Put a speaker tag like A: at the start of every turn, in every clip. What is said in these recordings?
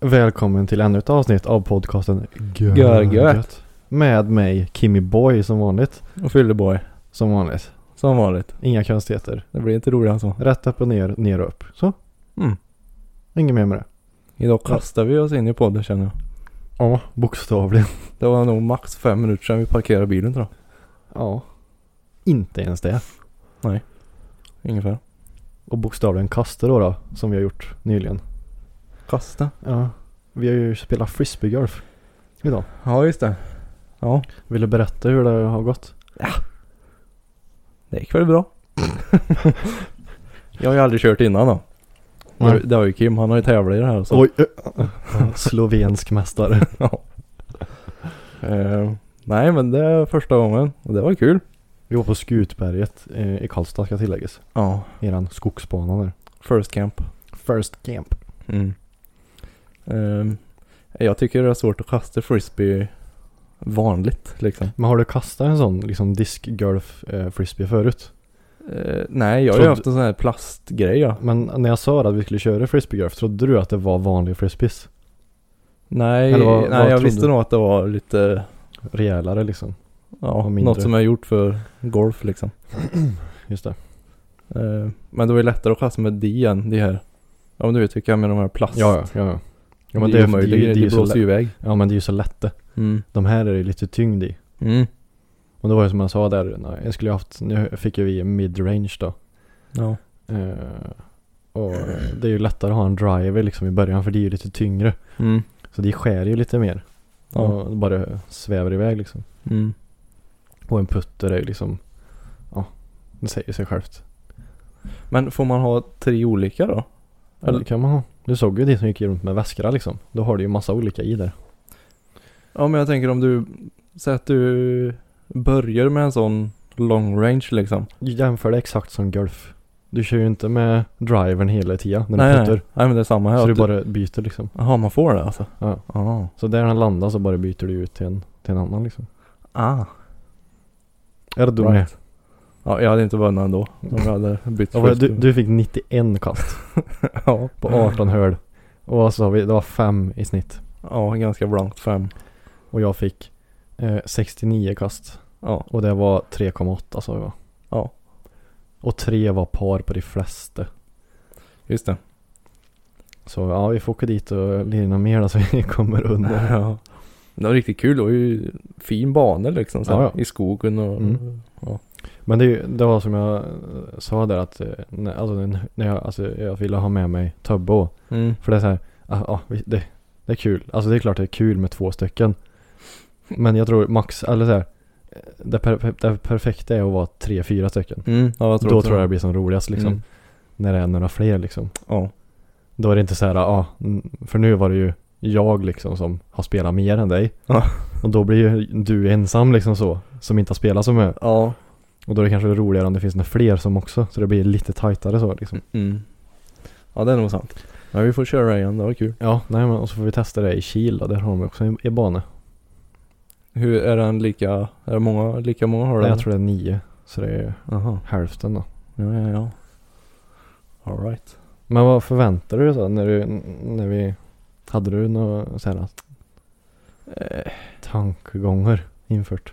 A: Välkommen till ännu ett avsnitt av podcasten Gör
B: Gör gött.
A: Med mig Kimmy Boy som vanligt.
B: Och fylleboy.
A: Som vanligt.
B: Som vanligt.
A: Inga konstigheter.
B: Det blir inte roligare än så.
A: Rätt upp och ner, ner och upp. Så.
B: Mm.
A: Inget mer med det.
B: Idag kastar vi oss in i podden känner jag.
A: Ja, bokstavligen.
B: Det var nog max fem minuter sedan vi parkerade bilen tror
A: Ja. Inte ens det.
B: jag. Ungefär.
A: Och bokstavligen kaster då, då som vi har gjort nyligen.
B: Kasta?
A: Ja. Vi har ju spelat frisbeegolf idag.
B: Ja just det. Ja.
A: Vill du berätta hur det har gått?
B: Det gick väl bra. jag har ju aldrig kört innan då.
A: Nej.
B: Det- Det har ju Kim. Han har ju tävlat i det här. Så.
A: Oj! Ja, Slovensk mästare.
B: ja. Eh, nej men det är första gången. Och det var kul.
A: Vi var på Skutberget eh, i Karlstad ska tilläggas.
B: Ja.
A: I den skogsbanan där.
B: First camp.
A: First camp.
B: Mm. Ehm, jag tycker det är svårt att kasta frisbee vanligt liksom.
A: Men har du kastat en sån liksom discgolf eh, frisbee förut?
B: Eh, nej, jag har ju
A: Trodde-
B: haft en sån här plastgrej ja.
A: Men när jag sa att vi skulle köra frisbeegolf trodde du att det var vanlig frisbees?
B: Nej,
A: Eller vad-
B: nej
A: vad
B: jag
A: trodde
B: visste
A: du?
B: nog att det var lite,
A: Rejälare liksom.
B: ja,
A: Vad mindre.
B: något som jag gjort för golf liksom.
A: Just det.
B: Eh, men det var ju lättare att chassa med di än de här. Ja men du vet vilka jag menar de här plast.
A: Ja, ja, ja. ja. Ja men
B: det,
A: det, är- det, är-
B: omöjligt,
A: det, är- det, är ju så
B: blåser ju
A: lätt.
B: iväg.
A: Ja men det är ju så lätt det.
B: Mm.
A: De här är det lite tyngd i.
B: Mm.
A: Och det var ju som jag sa där, nej, jag skulle ju haft, nu fick ju vi midrange då.
B: Ja.
A: Eh, och det är ju lättare att ha en driver liksom i början för det är ju lite tyngre.
B: Mm.
A: Så det skär ju lite mer.
B: Ja.
A: Och bara svävar iväg liksom.
B: Mm.
A: Och en putter är ju liksom, ja, det säger sig självt.
B: Men får man ha tre olika då?
A: Eller kan man ha. Du såg ju det som gick runt med väskorna liksom. Då har du ju massa olika i där.
B: Ja men jag tänker om du, säg att du börjar med en sån long range liksom.
A: Jämför det exakt som golf. Du kör ju inte med drivern hela tiden när
B: nej,
A: du putter.
B: nej. nej men det är samma här.
A: Så du
B: att
A: bara byter liksom.
B: Jaha, man får det alltså?
A: Ja.
B: Ah.
A: Så där den landar så bara byter du ut till en, till en annan liksom.
B: ah.
A: Är det du
B: Right.
A: med?
B: Ja, jag hade inte vunnit ändå. Om jag hade bytt
A: Ja, vad-
B: först.
A: du, du fick 91 kast
B: ja.
A: på 18 hål. Och så har vi, det var fem i snitt.
B: ja, ganska blankt fem.
A: Och jag fick eh, 69 kast.
B: Ja.
A: Och det var 3,8 sa vi va?
B: Ja.
A: Och tre var par på de flesta.
B: Just det.
A: Så ja, vi får åka dit och lira mer då så vi kommer under.
B: Ja. Det var riktigt kul. Det var ju fin bana liksom. Så här,
A: Ja, ja.
B: I skogen och...
A: Mm.
B: Ja.
A: Men det, är ju- det var som jag eh, sa där att eh, när, alltså, den- när jag, alltså, jag ville ha med mig Tubbo.
B: Mm.
A: För det är så här, ah, ah, vi- det, det är kul. Alltså det är klart det är kul med två stycken. Men jag tror max, eller så här, eh, det, per, per- det perfekta är att vara tre, fyra stycken.
B: Mm. Ja, jag tror
A: Då
B: också
A: tror jag det blir som roligast liksom.
B: Mm.
A: När det är några fler liksom.
B: Ja.
A: Då är det inte så här, ja, ah, mm, för nu var det ju jag liksom som har spelat mer än dig.
B: Ja.
A: Och då blir ju du ensam liksom så, som inte har spelat så mycket.
B: Ja.
A: Och då är det kanske roligare om det finns några fler som också, så det blir lite tajtare så liksom.
B: Mm. Ja, det är nog sant. Men vi får köra det igen. Det var kul.
A: Ja, nej men och så får vi testa det i Kil då, där har de också en en bana.
B: Hur är den lika... Är det många, lika många har
A: Nej,
B: den?
A: jag tror det är nio. Så det är
B: Aha.
A: hälften då.
B: Ja, ja, ja. All right.
A: Men vad förväntar du dig då när du, när vi, hade du några så här
B: Eh,
A: tankegångar infört?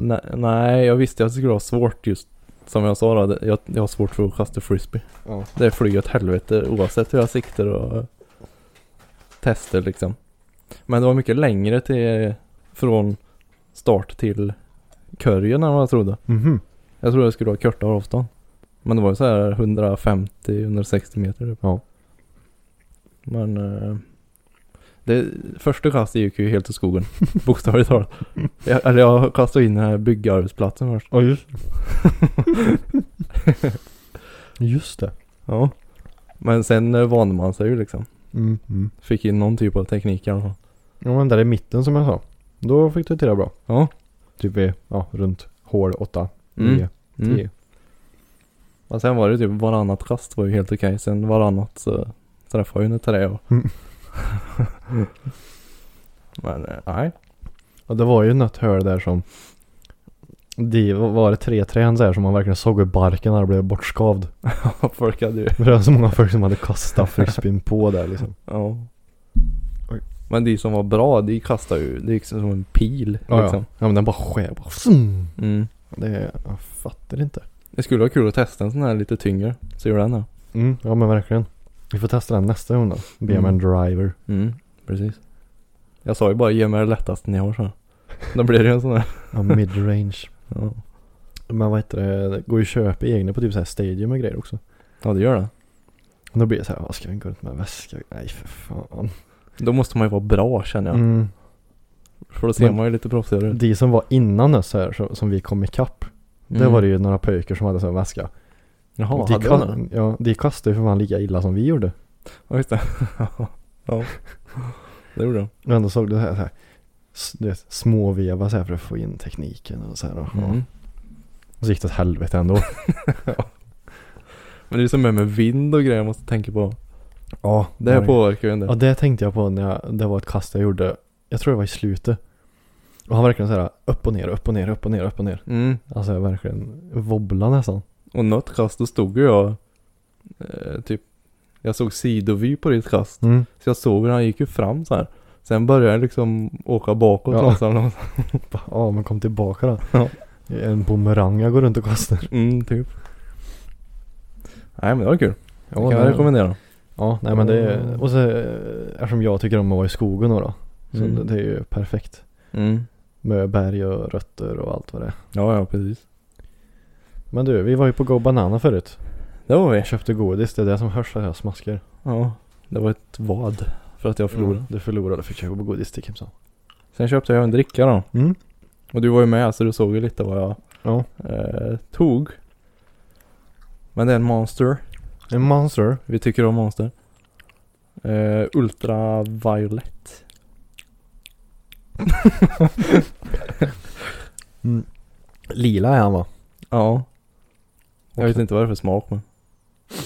B: nej, nej, jag visste att det skulle vara svårt just som jag sa då. det- Jag, jag har svårt för att kasta frisbee.
A: Ja.
B: Det flyger åt helvete oavsett hur jag siktar och eh, tester liksom. Men det var mycket längre till från start till curryen än vad jag trodde.
A: Mhm.
B: Jag trodde jag skulle ha kortare avstånd. Men det var ju så här 150-160 meter typ.
A: Ja.
B: Men eh, det första kastet gick ju helt i skogen. Bokstavligt talat. Jag, eller jag kastade in den här byggarbetsplatsen först.
A: Ja, just Just det.
B: Ja. Men sen eh, vande man sig ju liksom.
A: Mm. Mm.
B: Fick in någon typ av teknik i alla fall.
A: Ja, men där i mitten som jag sa. Då fick du till det bra.
B: Ja.
A: Typ i, ja, runt hål 8,
B: Mm.
A: 9, 10.
B: Mm. Men sen var det typ varannat kast var ju helt okej. Sen varannat så träffade jag ju inte det. Och...
A: Mm.
B: Men eh, nej.
A: Ja, det var ju något hörn där som det var var det tre trän så här som man verkligen såg hur barken hade blivit bortskavd.
B: Folk hade ju.
A: För det var så många folk som hade kastat frisbeen på där liksom.
B: Ja.
A: Oj.
B: Men de som var bra, de kastade ju. Det gick som en pil.
A: Ja, ja.
B: liksom.
A: ja men den bara skär. bara zoom.
B: Mm.
A: Det, jag fattar inte.
B: Det skulle vara kul att testa en sån här lite tyngre. Så gör den då.
A: Mm, ja men verkligen. Vi får testa den nästa gång då. Be mig en driver.
B: Mm, precis. Jag sa ju bara ge mig det lättaste ni har så. Då blir det ju en sån här.
A: Ja, midrange.
B: Ja,
A: Men vad heter det, det går ju att köpa egna på typ så här stadium och grejer också.
B: ja det gör det.
A: Och då blir det så här, vad ska jag gå runt med en väska? Nej för fan.
B: Då måste man ju vara bra känner jag.
A: Mm.
B: För då ser
A: Men-
B: man ju lite proffsigare ut.
A: De som var innan oss här som, som vi kom ikapp.
B: Mm.
A: Där var det ju några pojkar som hade sån här väska.
B: Jaha,
A: de,
B: hade
A: ka-
B: de det?
A: ja, de kastade ju för fan lika illa som vi gjorde.
B: Ja, just det. ja. Det gjorde de.
A: Men ändå såg du så här, så här s- du vet, småveva så här för att få in tekniken och så här. Och,
B: Mm.
A: och så gick det åt helvete ändå.
B: Men det är som med med vind och grejer man måste tänka på.
A: ja,
B: Det här påverkar ju en del.
A: Ja, det tänkte jag på när jag, det var ett kast jag gjorde. Jag tror det var i slutet. Och han verkligen så här upp och ner, upp och ner, upp och ner, upp och ner.
B: Mm.
A: Alltså jag verkligen wobbla nästan.
B: Och något kast då stod ju jag eh, typ. Jag såg sidovy på ditt kast.
A: Mm.
B: Så jag såg hur han gick ju fram så här. Sen började jag liksom åka bakåt
A: Ja.
B: långsamt, långsamt.
A: Ja, men kom tillbaka då.
B: Ja.
A: En bumerang jag går runt och kastar.
B: Mm, typ. Nej men det var kul.
A: Ja,
B: Det kan jag
A: nej.
B: rekommendera.
A: Ja, nej men det är, och så eh, eftersom jag tycker om att vara i skogen då. då så
B: Mm.
A: det, det är ju perfekt.
B: Mm.
A: Med berg och rötter och allt vad det är.
B: Ja, ja precis.
A: Men du, vi var ju på Go Banana förut.
B: Det var vi.
A: Jag köpte godis, det är det som hörs så här smaskar.
B: Ja. Det var ett vad. För att jag förlorade.
A: Du förlorade, fick köpa godis till Kimsan.
B: Sen köpte jag en dricka då.
A: Mm.
B: Och du var ju med så du såg ju lite vad jag
A: Ja.
B: eh, tog. Men det är en monster.
A: En monster.
B: Vi tycker om monster. Eh, ultraviolett.
A: Lila är han va?
B: Ja. Jag
A: Okej.
B: vet inte vad det är för smak men.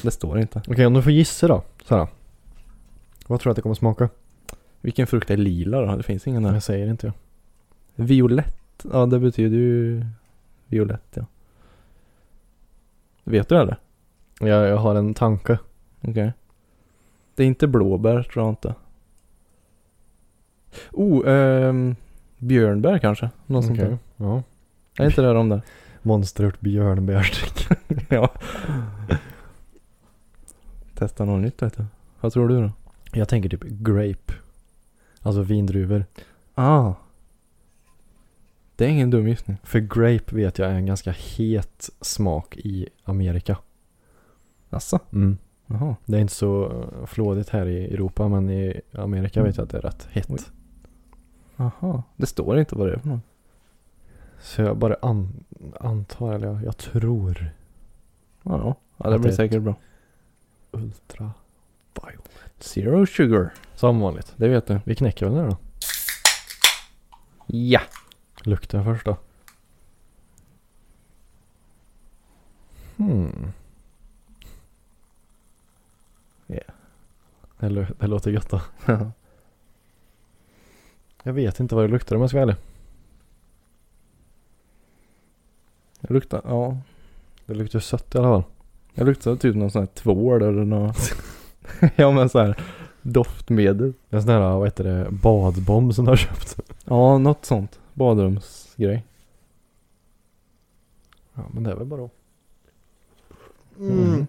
B: Det står inte.
A: Okej, om du får gissa då. Så här. Vad tror du att det kommer smaka?
B: Vilken frukt är lila då? Det finns ingen där.
A: Jag säger inte jag.
B: Violett. Ja det betyder ju violett ja. Vet du eller?
A: jag. Jag har en tanke.
B: Okej. Det är inte blåbär tror jag inte. Oh, ehm, björnbär kanske? Något sånt där.
A: Ja.
B: Är inte det de där?
A: Monsterört björnbärsdricka.
B: ja. Testa något nytt vet du. Vad tror du då?
A: Jag tänker typ grape. Alltså vindruvor.
B: Ah. Det är ingen dum gissning.
A: För grape vet jag är en ganska het smak i Amerika.
B: Jaså?
A: Mm.
B: Jaha.
A: Det är inte så eh, flådigt här i Europa men i Amerika vet jag att det är rätt hett.
B: Oj. Aha. Det står inte vad det är för något.
A: Så jag bara an- antar, eller jag, jag tror.
B: Ja, ja.
A: Att
B: ja
A: det
B: det blir
A: är ett-
B: säkert bra.
A: Ultra.
B: Zero sugar.
A: Som vanligt.
B: Det vet du.
A: Vi knäcker väl den här då.
B: Ja.
A: Lukten först då. Hmm.
B: Ja.
A: Det, lu- det låter gött då. Jag vet inte vad det luktar om jag ska vara ärlig.
B: Det luktar, ja.
A: Det luktar sött i alla fall.
B: Det luktar typ någon sån här tvål eller något. ja men så här doftmedel.
A: En sån här, vad heter det, badbomb som du har köpt.
B: Ja, något sånt. Badrumsgrej.
A: Ja men det är väl bara
B: Mm.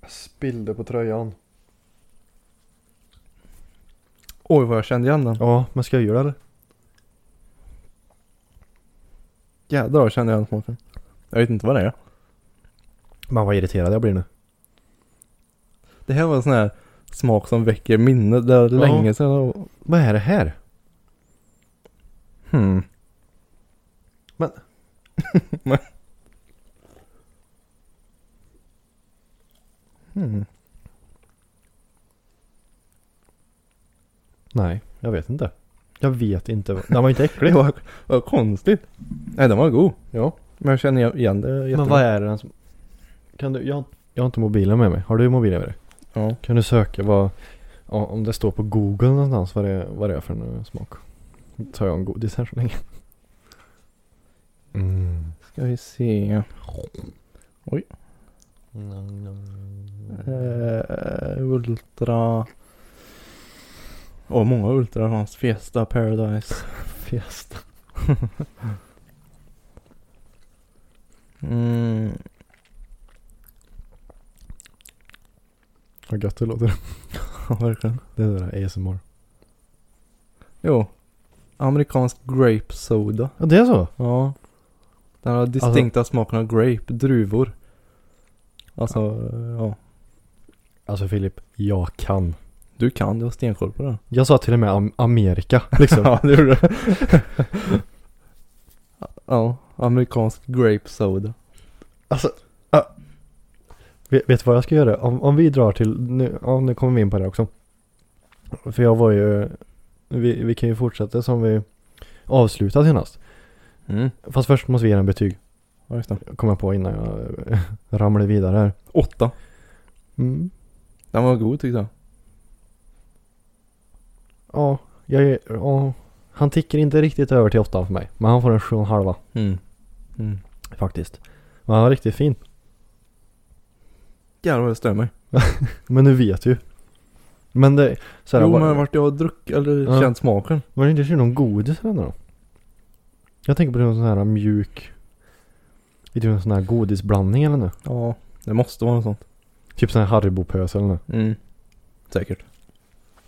A: Jag spillde på tröjan.
B: Oj vad jag kände igen den.
A: Ja, men ska jag göra det eller?
B: Jädrar vad jag kände igen smaken. Jag vet inte vad det är.
A: Man vad irriterad jag blir nu.
B: Det här var en sån här smak som väcker minne. Det var
A: Ja.
B: länge sedan. jag-
A: Vad är det här?
B: Hmm.
A: Men-
B: Men- Hmm.
A: Nej, jag vet inte. Jag vet inte. vad- Den var inte äcklig.
B: Det var, var konstigt. Nej, den var god.
A: Ja.
B: Men jag känner igen det
A: Men vad är den som... Kan du... Jag, jag har inte mobilen med mig. Har du mobilen med dig?
B: Ja.
A: Kan du söka vad... ja, Om det står på google någonstans vad det, vad det är för en eh, smak. Då tar jag en godis här så länge. Mm.
B: Ska vi se. Eh, Ultra. Åh, många Ultra hans Fiesta Paradise.
A: Fiesta.
B: Mm.
A: Vad gött det låter.
B: Ja, verkligen.
A: Det är det där ASMR.
B: Jo. Amerikansk Grape Soda.
A: Ja det är så?
B: Ja. Alltså- Den har distinkta smaken av grape, druvor. Alltså, ja.
A: Alltså Filip, jag kan.
B: Du kan, du har stenkoll på det.
A: Jag sa till och med Am- Amerika liksom.
B: Ja, det gjorde du. ja, amerikansk grape soda.
A: alltså, ah. vet, vet du vad jag ska göra? Om, om vi drar till, nu, ja, nu kommer vi in på det också. För jag var ju, vi, vi kan ju fortsätta som vi avslutade senast.
B: Mm,
A: Fast först måste vi ge den betyg.
B: ja, just det.
A: Kommer jag på innan jag eh, ramlar vidare här.
B: Åtta.
A: Mm.
B: Den var god tyckte jag.
A: Ja, jag, är- ja, han tickar inte riktigt över till åttan för mig. Men han får en sju och en halva
B: Mm. Mm.
A: faktiskt. Men han var riktigt fin.
B: Jävlar vad det stämmer.
A: Men nu vet du ju. Men det, så här,
B: Jo
A: var,
B: men vart jag har druckit eller
A: Ja.
B: känt smaken.
A: var det inte typ någon godis eller något? Jag tänker på någon sån här mjuk, vet du en sån här godisblandning eller något?
B: Ja. Det måste vara något sånt.
A: Typ sån här Haribo-pös eller något?
B: Mm. Säkert.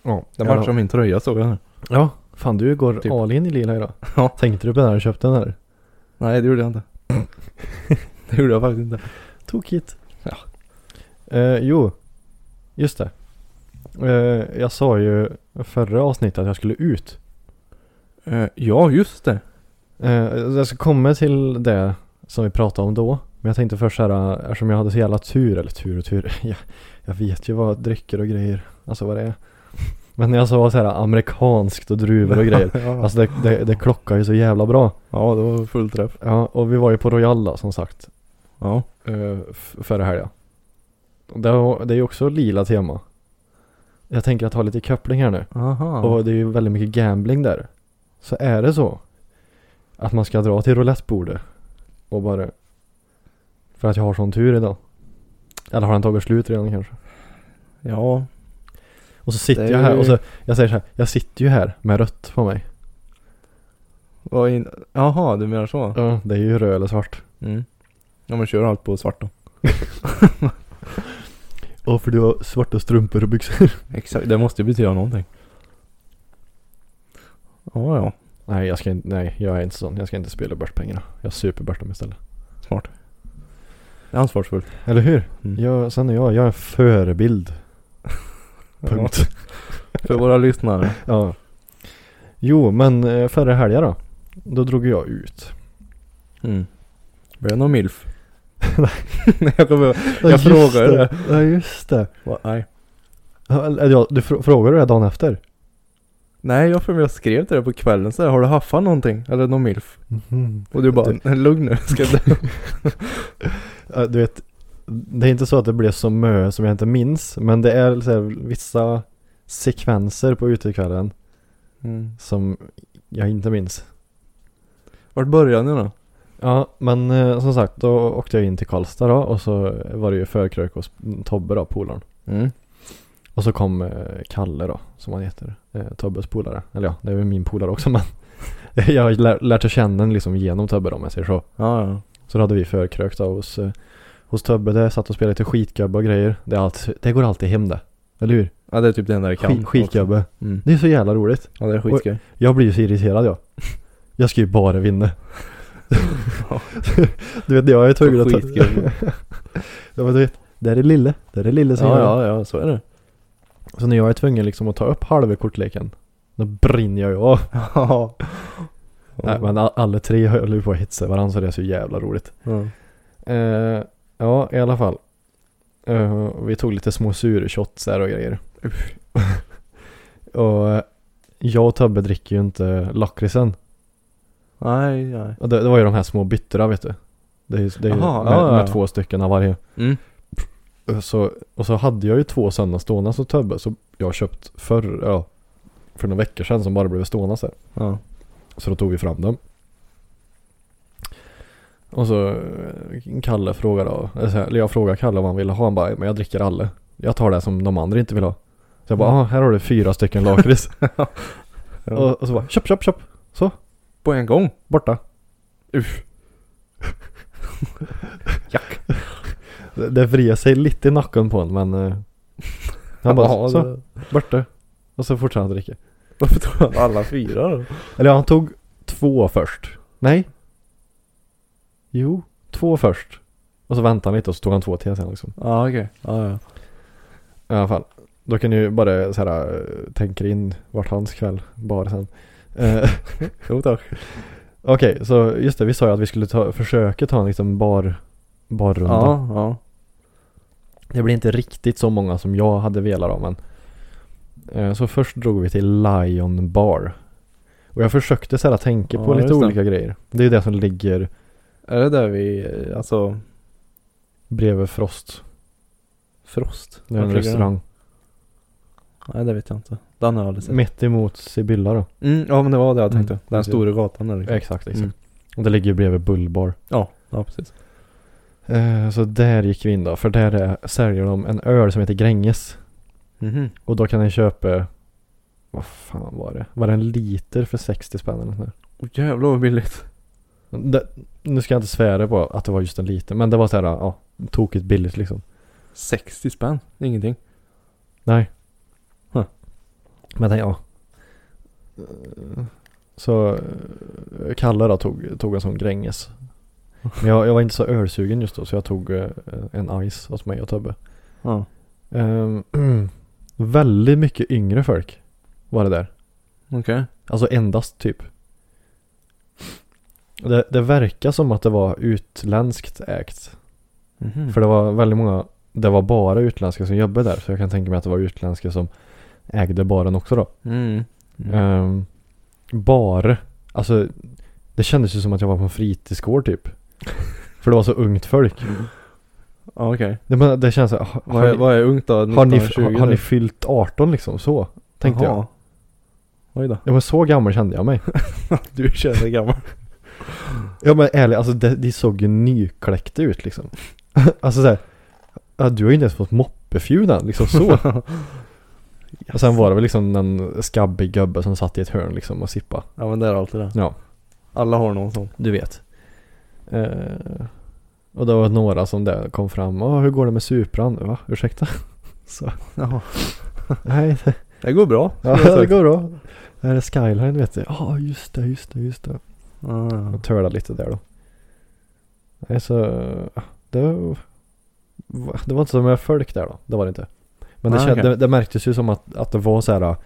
A: Ja.
B: Den vart som min tröja såg jag nu.
A: Ja, fan du går
B: Typ.
A: all in i lila idag.
B: Ja.
A: Tänkte du på det när du köpte den här?
B: Nej det gjorde jag inte. det gjorde jag faktiskt inte.
A: Tokigt. Ja. Eh, jo, just det. Eh, jag sa ju förra avsnittet att jag skulle ut.
B: Eh, ja just det.
A: Eh, jag ska komma till det som vi pratade om då. Men jag tänkte först så här, eh, eftersom jag hade så jävla tur, eller tur och tur, jag, jag vet ju vad drycker och grejer, alltså vad det är. Men när jag sa så här eh, amerikanskt och druvor och grejer,
B: ja.
A: alltså det, det, det klockar ju så jävla bra.
B: ja det var full träff.
A: Ja, och vi var ju på Royal då, som sagt,
B: Ja.
A: eh, f- förra helgen. Och Det, var- det är ju också lila tema. Jag tänker att ha lite koppling här nu.
B: Aha.
A: Och det är ju väldigt mycket gambling där. Så är det så att man ska dra till roulettebordet och bara för att jag har sån tur idag. Eller har den tagit slut redan kanske?
B: ja.
A: Och så sitter
B: Det är
A: jag här
B: ju-
A: och så, jag säger så här, jag sitter ju här med rött på mig.
B: Vad in... Jaha du menar så?
A: Ja. Det är ju röd eller svart.
B: Mm. Ja men kör allt på svart då.
A: Och för du har svarta strumpor och byxor.
B: Exakt, det måste ju betyda någonting. Ja, ja.
A: nej, jag ska inte, nej, jag är inte sån. Jag ska inte spela börspengarna. Jag super börsen istället.
B: Smart. Det är ansvarsfullt.
A: Eller hur?
B: Mm.
A: Jag, sen är jag, jag är en förebild. Punkt.
B: För våra lyssnare.
A: Ja. Jo, men eh, förra helgen då. Då drog jag ut.
B: Mm. Blev det någon milf? Nej. jag kommer ihåg. Jag
A: just
B: frågade det.
A: Ja, just det.
B: Va? Nej.
A: Ja, eller, ja, du fr- frågade det dagen efter?
B: Nej, jag för mig jag skrev till dig på kvällen så här, har du haffat någonting? Eller någon milf?
A: Mhm.
B: Och du bara, "Nej, lugn nu. Ska jag
A: Ja, Du vet, det är inte så att det blev så mö som jag inte minns. Men det är så här, vissa sekvenser på utekvällen
B: mm.
A: som jag inte minns.
B: Vart började ni då?
A: Ja, men eh, som sagt, då åkte jag in till Karlstad då och så var det ju förkrök hos Tobbe då, polaren.
B: Mm.
A: Och så kom eh, Kalle då, som han heter, eh, Tobbes polare. Eller ja, det är väl min polare också men jag har lär, lärt att känna den liksom genom Tobbe då, om jag säger så.
B: Ja, ja.
A: Så då hade vi förkrök då hos, eh, hos Tobbe där, satt och spelade lite skitgubbe och grejer. Det, är allt, det går alltid hem det, eller hur?
B: Ja, det är typ det enda jag kan.
A: Skit, skitgubbe.
B: Mm.
A: Det är så jävla roligt.
B: Ja, det är skitskoj.
A: Jag blir ju så irriterad jag. Jag ska ju bara vinna.
B: Ja.
A: du vet, jag är tvungen att ta...
B: Skitskoj.
A: Ja, men du vet, där är lille, där är lille som
B: Ja,
A: gör det.
B: ja, ja, så är det.
A: Så när jag är tvungen liksom att ta upp halva kortleken, då brinner jag ju av.
B: Ja.
A: Nej men a- alla tre höll ju på att hetsa varandra så det är så jävla roligt.
B: Ja.
A: Eh, ja i alla fall. Eh, Eh, och vi tog lite små surshots där och grejer. och eh, jag och Tobbe dricker ju inte lakritsen.
B: Nej, nej.
A: Och Det, det var ju de här små byttorna vet du. Det är ju det är ju
B: Aha,
A: med,
B: ja, ja,
A: med
B: ja.
A: två stycken av varje.
B: Mm.
A: Och Så, och så hade jag ju två sådana stånas och Tobbe som jag köpt förr, ja, för några veckor sedan som bara blev stånas här.
B: Ja.
A: Så då tog vi fram dem. Och så eh, Kalle frågade, då- eller så här, eller jag frågade Kalle om han ville ha, han bara, men jag dricker alla. Jag tar det som de andra inte vill ha. Så jag bara,
B: Mm.
A: ah, här har du fyra stycken lakrits.
B: Ja.
A: och, och så bara, köp, köp, köp.
B: På en gång.
A: Borta.
B: Uff.
A: Det, det vrider sig lite i nacken på honom men eh, han bara,
B: Ja,
A: så,
B: det-
A: borta. Och så fortsatte han dricka.
B: Varför tog han alla fyra då?
A: Eller han tog två först. Nej. Jo, två först. Och så väntade han lite och så tog han två till sen liksom.
B: Ja, okej. Ja, ja.
A: I alla fall. Då kan ni ju bara så här, eh, tänka in vart hans kväll bar sen. Eh,
B: Jo tack.
A: Okej, så just det, vi sa ju att vi skulle ta, försöka ta en liksom bar, barrunda.
B: Ja, ja.
A: Det blir inte riktigt så många som jag hade velat ha men. Eh, Så först drog vi till Lion Bar. Och jag försökte så här, tänka på
B: Ja,
A: lite
B: just det.
A: olika grejer. Det är ju det som ligger
B: Är det där vi, eh, alltså,
A: bredvid Frost.
B: Frost?
A: Det är en
B: Vart ligger
A: restaurang.
B: den? Nej, det vet jag inte. Den har jag aldrig sett.
A: Mitt emot Sibylla då.
B: Mm, ja, men det var det jag
A: Mm,
B: tänkte. Den
A: precis.
B: stora gatan där liksom.
A: Exakt, exakt.
B: Mm.
A: Och det ligger ju bredvid Bullbar.
B: Ja, ja precis.
A: Eh, så där gick vi in då, för där är, säljer de en öl som heter Gränges.
B: Mhm.
A: Och då kan ni köpa, vad fan var det? Var det en liter för 60 spänn eller nåt sånt
B: Åh jävlar vad billigt.
A: där? det, Nu ska jag inte svära på att det var just en liter, men det var så här, ja, tokigt billigt liksom.
B: 60 spänn. Ingenting.
A: Nej.
B: Huh.
A: Men ja. Eh, Så eh, Kalle då tog, tog en sån Gränges. Men jag, jag var inte så ölsugen just då så jag tog eh, en Ice åt mig och Tobbe.
B: Ja.
A: Ehm, väldigt mycket yngre folk var det där.
B: Okej.
A: Alltså endast typ. Det, det verkar som att det var utländskt ägt.
B: Mhm.
A: För det var väldigt många, det var bara utländska som jobbade där. Så jag kan tänka mig att det var utländska som ägde baren också då.
B: Mm. Mm.
A: Ehm, bar, alltså det kändes ju som att jag var på en fritidsgård typ. För det var så ungt folk.
B: Ja, okej.
A: Det, men, det känns så här, har,
B: Vad är,
A: har,
B: vad är ungt då?
A: ni, har, ni,
B: 19,
A: har, har ni
B: typ?
A: fyllt 18 liksom? Så tänkte jag.
B: Jaha. Oj då.
A: Ja men så gammal kände jag mig.
B: Du känner dig gammal.
A: Ja men ärligt, alltså de, de såg ju nykläckta ut liksom. alltså såhär, ja, du har ju inte ens fått moppefjun än, liksom så. Och sen var det väl liksom en skabbig gubbe som satt i ett hörn liksom och sippa.
B: Ja men det är alltid det.
A: Ja.
B: Alla har någon sån.
A: Du vet. Eh, och det var några som där kom fram, Åh, hur går det med Supran? Va? Ursäkta? Så.
B: Jaha.
A: Nej, det,
B: Det går bra.
A: ja,
B: skulle jag
A: det
B: säga.
A: går bra. Det här är Skyline vet du. Ja, just det, just det, just det.
B: Ja, ja.
A: Och töla lite där då. Nej så, det var, det var inte så många folk där då. Det var det inte. Men det,
B: Nej,
A: kän-
B: okej.
A: det, det märktes ju som att, att det var så här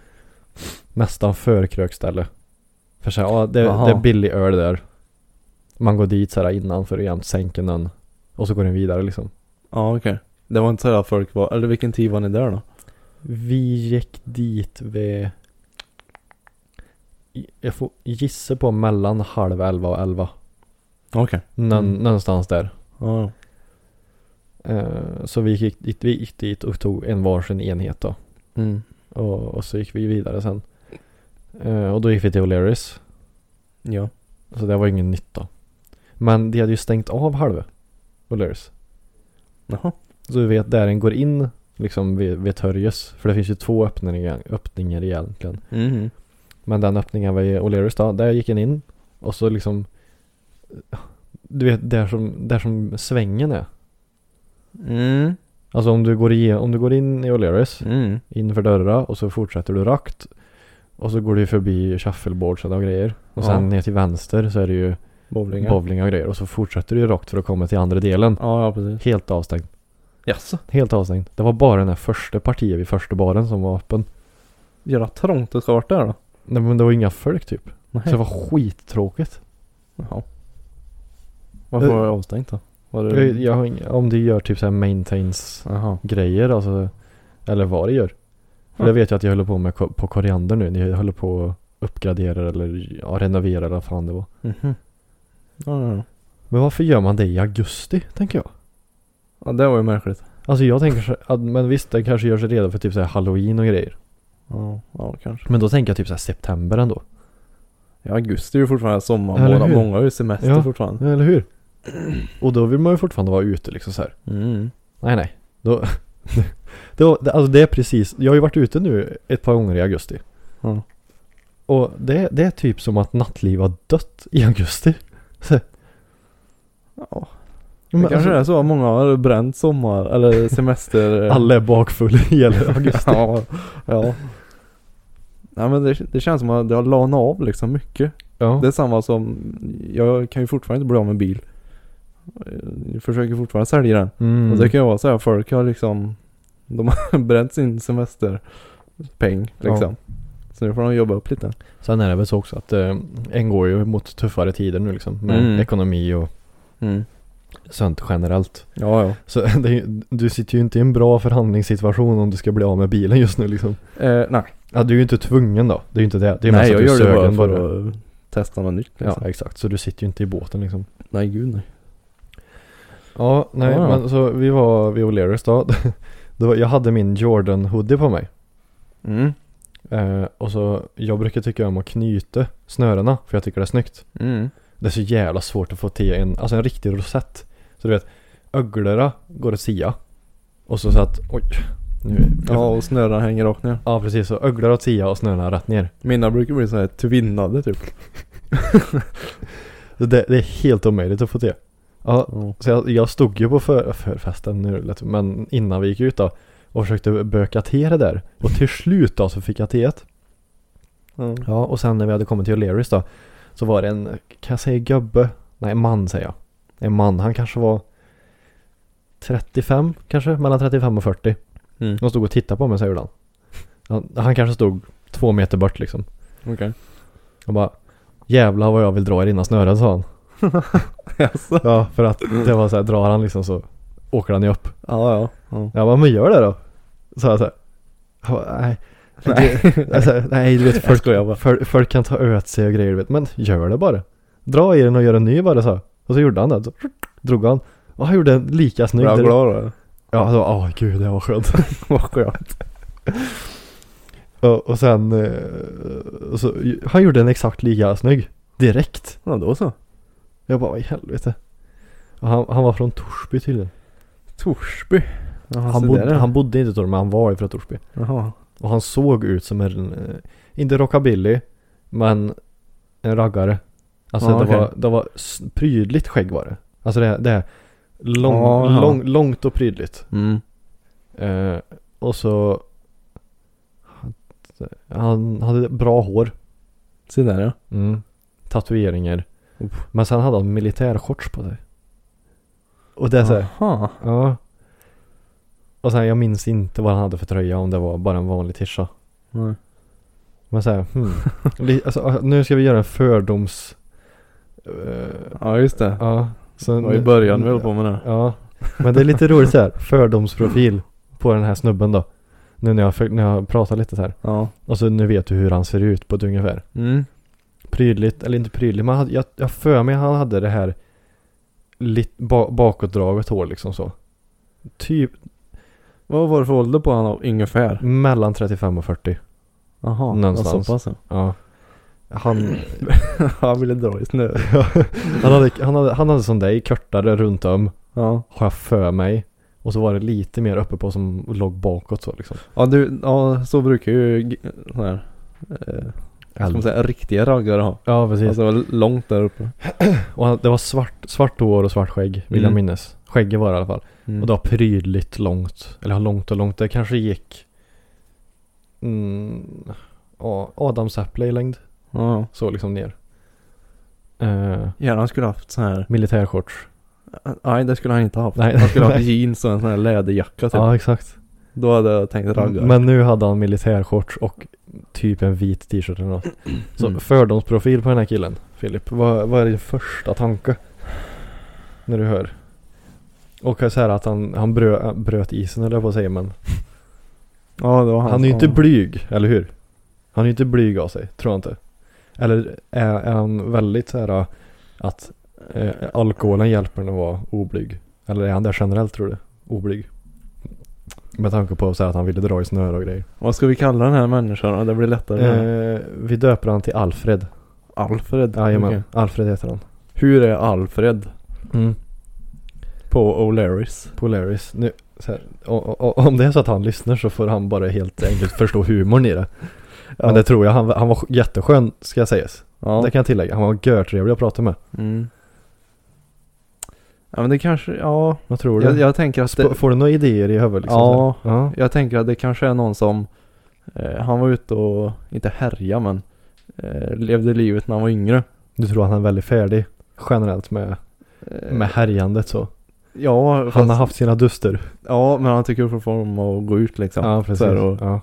A: nästan förkrökställe. För så här, ja det,
B: Jaha.
A: det är billig öl där. Man går dit så här innan för att jämt sänka den. Och så går den vidare liksom.
B: Ja okej. Det var inte så att folk var, eller vilken tid var ni där då?
A: Vi gick dit vid, jag får gissa på mellan halv elva och elva.
B: Okej.
A: Nå-
B: Mm.
A: Någonstans där.
B: Ja, ja.
A: Eh, Så vi gick, dit- vi gick dit och tog en varsin enhet då.
B: Mm.
A: Och, och så gick vi vidare sen. Eh, Och då gick vi till O'Learys.
B: Ja.
A: Så det var ingen nytta. Men de hade ju stängt av halva O'Learys.
B: Jaha.
A: Så du vet där den går in liksom vid, vid Törjes. För det finns ju två öppningar, öppningar egentligen.
B: Mhm.
A: Men den öppningen vid O'Learys då, där gick den in. Och så liksom du vet där som, där som svängen är.
B: Mm.
A: Alltså om du går, igen, om du går in i O'Learys
B: Mm.
A: in för dörrar och så fortsätter du rakt. Och så går du förbi shuffleboards och grejer. Och
B: Ja.
A: sen ner till vänster så är det ju
B: Bowlingar.
A: bowling och grejer. Och så fortsätter du ju rakt för att komma till andra delen.
B: Ja, ja precis.
A: Helt avstängd.
B: Jaså?
A: Helt avstängd. Det var bara den här första partiet vid första baren som var öppen.
B: Jävla trångt det ska vara där då.
A: Nej men det var inga folk typ.
B: Nej.
A: Så det var skittråkigt.
B: Jaha. Varför
A: Eh.
B: var det avstängt då? Var det...
A: Jag, jag, har ing- om det gör typ så här maintains
B: Aha.
A: grejer alltså. Eller vad det gör. För det
B: Mm.
A: vet jag att jag håller på med ko- på koriander nu. Jag håller på att uppgradera eller ja, renovera eller vad fan det var.
B: Mhm. Ja, ja, ja.
A: Men varför gör man det i augusti tänker jag?
B: ja, det var ju märkligt.
A: Alltså jag tänker så- att, men visst det kanske gör sig redo för typ så här halloween och grejer.
B: Ja, ja kanske.
A: Men då tänker jag typ så här september ändå.
B: Ja, augusti är ju fortfarande
A: Eller
B: sommarmånad.
A: hur?
B: Många har ju semester
A: Ja.
B: fortfarande.
A: Eller hur? Och då vill man ju fortfarande vara ute liksom så här.
B: Mm.
A: Nej nej. Då, då, det- alltså det är precis, jag har ju varit ute nu ett par gånger i augusti.
B: Ja.
A: Och det, det är typ som att nattliv har dött i augusti.
B: Ja, det
A: Men
B: kanske
A: alltså,
B: är så. Många har bränt sommar eller semester.
A: alla är bakfulla i hela augusti.
B: ja, ja. Nej men det, det känns som att det har lanat av liksom mycket.
A: Ja.
B: Det är samma som, jag kan ju fortfarande inte bli av med bil. Jag försöker fortfarande sälja den.
A: Mm.
B: Och det kan ju vara så här, folk har liksom, de har bränt sin semesterpeng liksom. Så nu får de jobba upp lite.
A: Sen är det väl så också att eh, en går ju mot tuffare tider nu liksom. Med
B: Mm.
A: ekonomi och sånt generellt.
B: Ja, ja.
A: Så det är, ju- du sitter ju inte i en bra förhandlingssituation om du ska bli av med bilen just nu liksom.
B: Eh, nej,
A: Ja, du är ju inte tvungen då. Det är ju inte det. Det är ju
B: nej
A: mest
B: jag
A: att du är
B: gör det bara
A: sögen
B: för
A: bara.
B: att testa något nytt liksom.
A: Ja, exakt. Så du sitter ju inte i båten liksom.
B: Nej, gud nej.
A: Ja, nej
B: Ja, ja.
A: men så vi var vid O'Learys då. då. Jag hade min Jordan hoodie på mig.
B: Mm.
A: Eh, och så, jag brukar tycka om att knyta snörena för jag tycker det är snyggt.
B: Mm.
A: Det är så jävla svårt att få till en, alltså en riktig rosett. Så du vet, öglorna går att sia. Och så så att, oj. Nu,
B: Ja, och snören hänger rakt ner.
A: ja precis, så öglor åt sia och snörena rätt ner.
B: Mina brukar bli så här tvinnade typ.
A: Så Det, det är helt omöjligt att få till. Ja,
B: Ja.
A: Så jag, jag stod ju på för, förfesten nu, lät- men innan vi gick ut då och försökte böka till det där. Och till slut då så fick jag till det.
B: Ja.
A: Ja, och sen när vi hade kommit till O'Learys då så var det en, kan jag säga gubbe? Nej, man säger jag. En man, han kanske var 35 kanske, mellan 35 och 40.
B: Mm.
A: De stod och tittade på mig så gjorde han. han. Han kanske stod två meter bort liksom.
B: Okej.
A: Och bara Jävlar vad jag vill dra i dina snören sa han.
B: Jaså?
A: Ja, för att det var så här, drar han liksom så åker han ju upp.
B: Ja, ja. ja.
A: Jag bara, men gör det då. Så jag så här. Han bara, nej. Nej. Alltså, nej, du vet
B: Jag
A: folk,
B: skojar bara.
A: folk, folk kan ta öt sig och grejer du vet. Men gör det bara. Dra i den och gör en ny bara så. Och så gjorde han det. Så drog han. Och han gjorde en lika snygg.
B: Blir jag
A: direkt.
B: glad då?
A: Ja, då, åh gud det var skönt.
B: Vad skönt.
A: och, och sen, eh, och så, han gjorde en exakt lika snygg. Direkt.
B: Ja, då så.
A: Jag bara, vad i helvete. Och han, han var från Torsby tydligen.
B: Torsby. Jaha,
A: Han
B: så där
A: bodde,
B: är
A: han bodde inte i Torsby, men han var ifrån Torsby.
B: det. Jaha.
A: Och han såg ut som en, eh, inte rockabilly, men en raggare. Alltså
B: Ja,
A: det,
B: okej.
A: var, det var s- prydligt skägg var det. Alltså det, det är lång,
B: Ja, ja.
A: lång, långt och prydligt.
B: Mm.
A: Eh, och så han hade bra hår.
B: Se där ja.
A: Tatueringar. Men sen hade han militärshorts på sig. Och det är så här,
B: Jaha.
A: ja. Och sen jag minns inte vad han hade för tröja om det var bara en vanlig tisha.
B: Nej.
A: Man säger, hmm. Li- alltså, nu ska vi göra en fördoms... eh,
B: Ja, just det.
A: ja.
B: Det
A: Så
B: var i början vi höll på med det.
A: Ja. Men det är lite roligt så här. Fördomsprofil på den här snubben då. Nu när jag, för- när jag pratar lite så här.
B: Ja.
A: Och så nu vet du hur han ser ut på ett ungefär.
B: Mm.
A: Prydligt, eller inte prydligt, men han hade- jag, jag för mig han hade det här lit, ba, bakåtdraget hår liksom så. Typ
B: Vad var det för ålder på han ungefär?
A: mellan 35 och 40.
B: Jaha.
A: Mm. Någonstans.
B: Så pass ja.
A: Ja. Han,
B: Han ville dra i snö.
A: han, hade, han, hade, han hade som dig, kortare runt om.
B: Ja.
A: har jag för mig. Och så var det lite mer uppe på som låg bakåt så liksom.
B: Ja, du, ja så brukar ju g- sån här. Eh, ska man säga, riktiga raggare ha.
A: Ja precis.
B: Alltså långt där uppe.
A: och han- det var svart, svart hår och svart skägg vill jag
B: Mm.
A: minnas. Skägget var det i alla fall.
B: Mm.
A: Och det var prydligt långt. Eller ja, långt och långt. Det kanske gick mm, ja, adamsäpple i längd.
B: Ja, ja.
A: Så liksom ner. Eh,
B: Gärna han skulle haft sån här.
A: militärshorts.
B: Typ. Nej, det skulle han inte haft.
A: Nej.
B: Han skulle haft jeans och en sån här läderjacka typ.
A: Ja exakt.
B: Då hade jag tänkt raggare.
A: Mm, Men nu hade han militärshorts och typ en vit t-shirt eller något. Så
B: Mm.
A: fördomsprofil på den här killen, Filip. Vad, vad är din första tanke? När du hör Och så här att han, han brö, bröt isen eller på att säga men
C: Ja, det var han.
A: Han är ju inte
C: Ja.
A: blyg, eller hur? Han är ju inte blyg av sig, tror jag inte. Eller är, är han väldigt så här äh, att eh, alkoholen hjälper honom att vara oblyg? Eller är han där generellt tror du? Oblyg? Med tanke på så här, att han ville dra i snöre och grejer.
B: Vad ska vi kalla den här människan då? Det blir lättare.
A: Eh, vi döper han till Alfred.
B: Alfred.
A: Jajamän,
B: Okej.
A: Alfred heter han.
B: Hur är Alfred
A: Mm.
B: på O'Larrys?
A: Polaris. Nu, så här, o- o- om det är så att han lyssnar så får han bara helt enkelt förstå humorn i det. Men
B: Ja.
A: det tror jag. Han, han var jätteskön ska jag sägas.
B: Ja.
A: Det kan jag tillägga. Han var görtrevlig att prata med.
B: Mm. Ja men det kanske, ja.
A: Vad tror du?
B: Jag, jag tänker att
A: Sp-
B: det,
A: Får du några idéer i huvudet liksom?
B: Ja.
A: så här? ja.
B: jag tänker att det kanske är någon som, eh, han var ute och, inte härja men, eh, levde livet när han var yngre.
A: Du tror att han är väldigt färdig generellt med,
B: Eh,
A: med härjandet så.
B: Ja,
A: Han
B: fast,
A: har haft sina duster.
B: ja men han tycker fortfarande om att gå ut liksom.
A: Ja, precis.
B: Så här, och,
A: ja.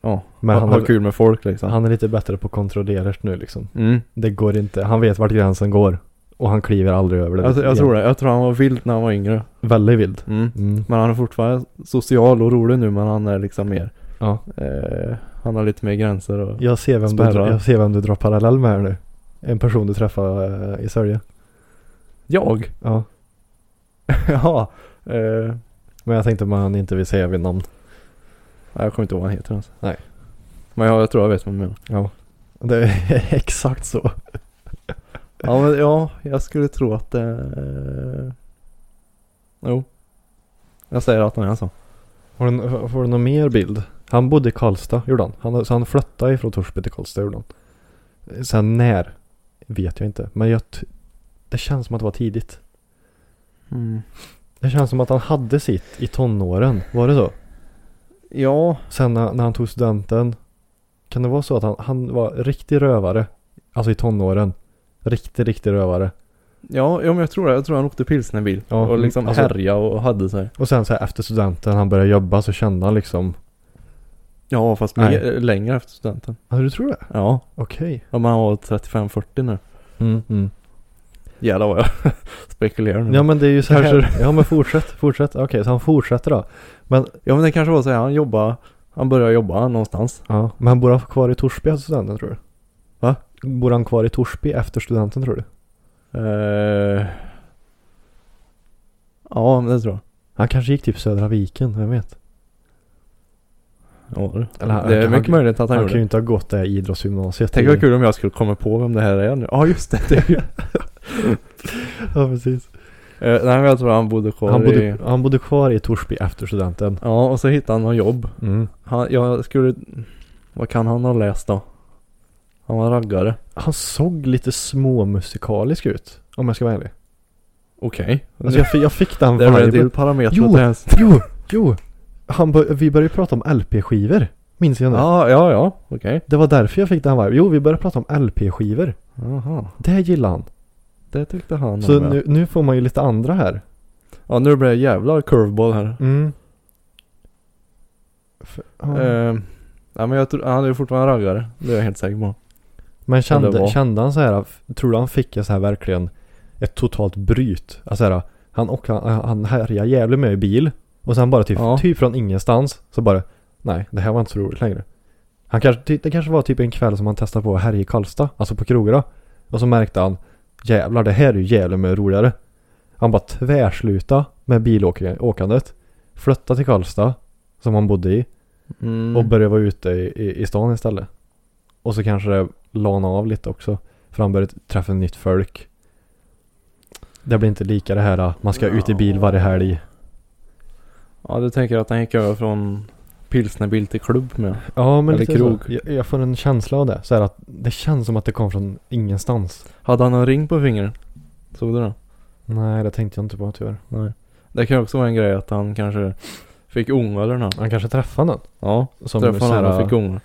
B: ja.
A: Men
B: ha,
A: han,
B: ha
A: är,
B: kul med folk liksom.
A: han är lite bättre på att kontrollera det nu liksom.
B: mm.
A: Det går inte. Han vet vart gränsen går. Och han kliver aldrig över det.
B: Alltså, jag, jag tror det. Jag tror han var vild när han var yngre.
A: Väldigt vild.
B: Mm.
A: Mm.
B: Men han är fortfarande social och rolig nu men han är liksom mer,
A: Ja.
B: eh, han har lite mer gränser och,
A: Jag, ser vem du,
B: Spärrar.
A: jag ser vem du drar parallell med här nu. En person du träffade eh, i Sörje.
B: Jag?
A: Ja.
B: ja. Eh,
A: Men jag tänkte man inte vill säga vid namn.
B: Nej, jag kommer inte ihåg vad han heter ens.
A: Nej.
B: Men jag, jag tror jag vet vad du menar.
A: Ja. Det är exakt så.
B: Ja, men ja, jag skulle tro att det... Eh... Jo. Jag säger att han är en sån.
A: Har du, får du någon mer bild? Han bodde i Karlstad, gjorde han. han så han flyttade ifrån Torsby till Karlstad, gjorde han. Sen när? Vet jag inte. Men jag t- det känns som att det var tidigt.
B: Mm.
A: Det känns som att han hade sitt i tonåren. Var det så?
B: Ja,
A: Sen när, när han tog studenten. Kan det vara så att han, han var riktig rövare? Alltså i tonåren. Riktig, riktig rövare.
B: ja, ja men jag tror det. Jag tror han åkte pilsnerbil.
A: Ja,
B: och liksom
A: alltså-
B: härja och hade sig.
A: Och sen så här, efter studenten, han började jobba så kände han liksom.
B: Ja, fast
A: Nej.
B: mer- eh, längre efter studenten.
A: Ja, du tror det?
B: Ja.
A: Okej.
B: ja men han var 35-40 nu.
A: Mm, mm.
B: Jävlar vad jag spekulerar nu.
A: Ja men det är ju så här.
B: Kanske-
A: Ja men fortsätt, fortsätt. Okej, så han fortsätter då. Men
B: ja, men det kanske var så här. Han jobbade, han började jobba någonstans.
A: Ja, men bor han kvar i Torsby efter studenten tror du?
B: Va?
A: Bor han kvar i Torsby efter studenten tror du?
B: Eh... Ja, men det tror jag.
A: Han kanske gick typ Södra viken, vem vet?
B: Ja,
A: Eller han-
B: det är
A: han-
B: mycket
A: han-
B: möjligt
A: Han,
B: att han,
A: kan
B: gjorde
A: ju
B: det.
A: inte ha gått det här idrottsgymnasiet.
B: Tänk vad kul om jag skulle komma på vem det här är nu. Ja, just det. det är ju-
A: Ja, precis.
B: Eh, nej, men jag tror han bodde kvar
A: Han
B: i...
A: bodde, han bodde kvar i Torsby efter studenten.
B: Ja, och så hittade han något jobb.
A: Mm.
B: Han, jag skulle... Vad kan han ha läst då? Han var raggare.
A: Han såg lite småmusikalisk ut, om jag ska vara ärlig.
B: Okej.
A: Alltså jag, fi- jag fick den
B: Det är väl typ-
A: viben.
B: en parameter
A: Jo!
B: till ens...
A: Jo, jo! Han bör, vi började ju prata om LP-skivor, minns jag nu.
B: Ja, ja, ja. Okej.
A: Det var därför jag fick den viben. Jo, vi började prata om LP-skivor.
B: Jaha.
A: Det gillar han.
B: Det tyckte han
A: Så
B: om, ja.
A: nu, nu får man ju lite andra här.
B: Ja, nu blir det jävla curveball här.
A: Mm. F- ja.
B: Eh, nej, men jag tror... Han är ju fortfarande raggare. Det är jag helt säker på.
A: Men
B: eller
A: kände,
B: vad?
A: kände han så här, tror du han fick en så här verkligen ett totalt bryt? Alltså så här, han åkte, han, eh, han härjade jävligt med i bil och sen bara typ,
B: Ja.
A: typ från ingenstans så bara, nej det här var inte så roligt längre. Han kanske, ty- det kanske var typ en kväll som han testade på att härja i Karlstad, alltså på krogarna. Och så märkte han, jävlar det här är ju jävligt mycket roligare. Han bara tvärslutade med bilåkandet, flyttade till Karlstad, som han bodde i.
B: Mm.
A: Och började vara ute i, i, i stan istället. Och så kanske det lana av lite också. För han började träffa nytt folk. Det blir inte lika det här att man ska ut i bil varje helg.
B: Ja, du tänker att han gick över från pilsnerbil till klubb med.
A: Ja men
B: Eller
A: lite
B: krog.
A: Så, jag, jag får en känsla av det. Så här att det känns som att det kom från ingenstans.
B: Hade han en ring på fingret? Såg du det?
A: Nej det tänkte jag inte på tyvärr.
B: Nej. Det kan ju också vara en grej att han kanske fick ångorna.
A: Han kanske träffade någon.
B: Ja,
A: Som
B: träffade
A: så
B: han
A: här, äh,
B: och fick ångor.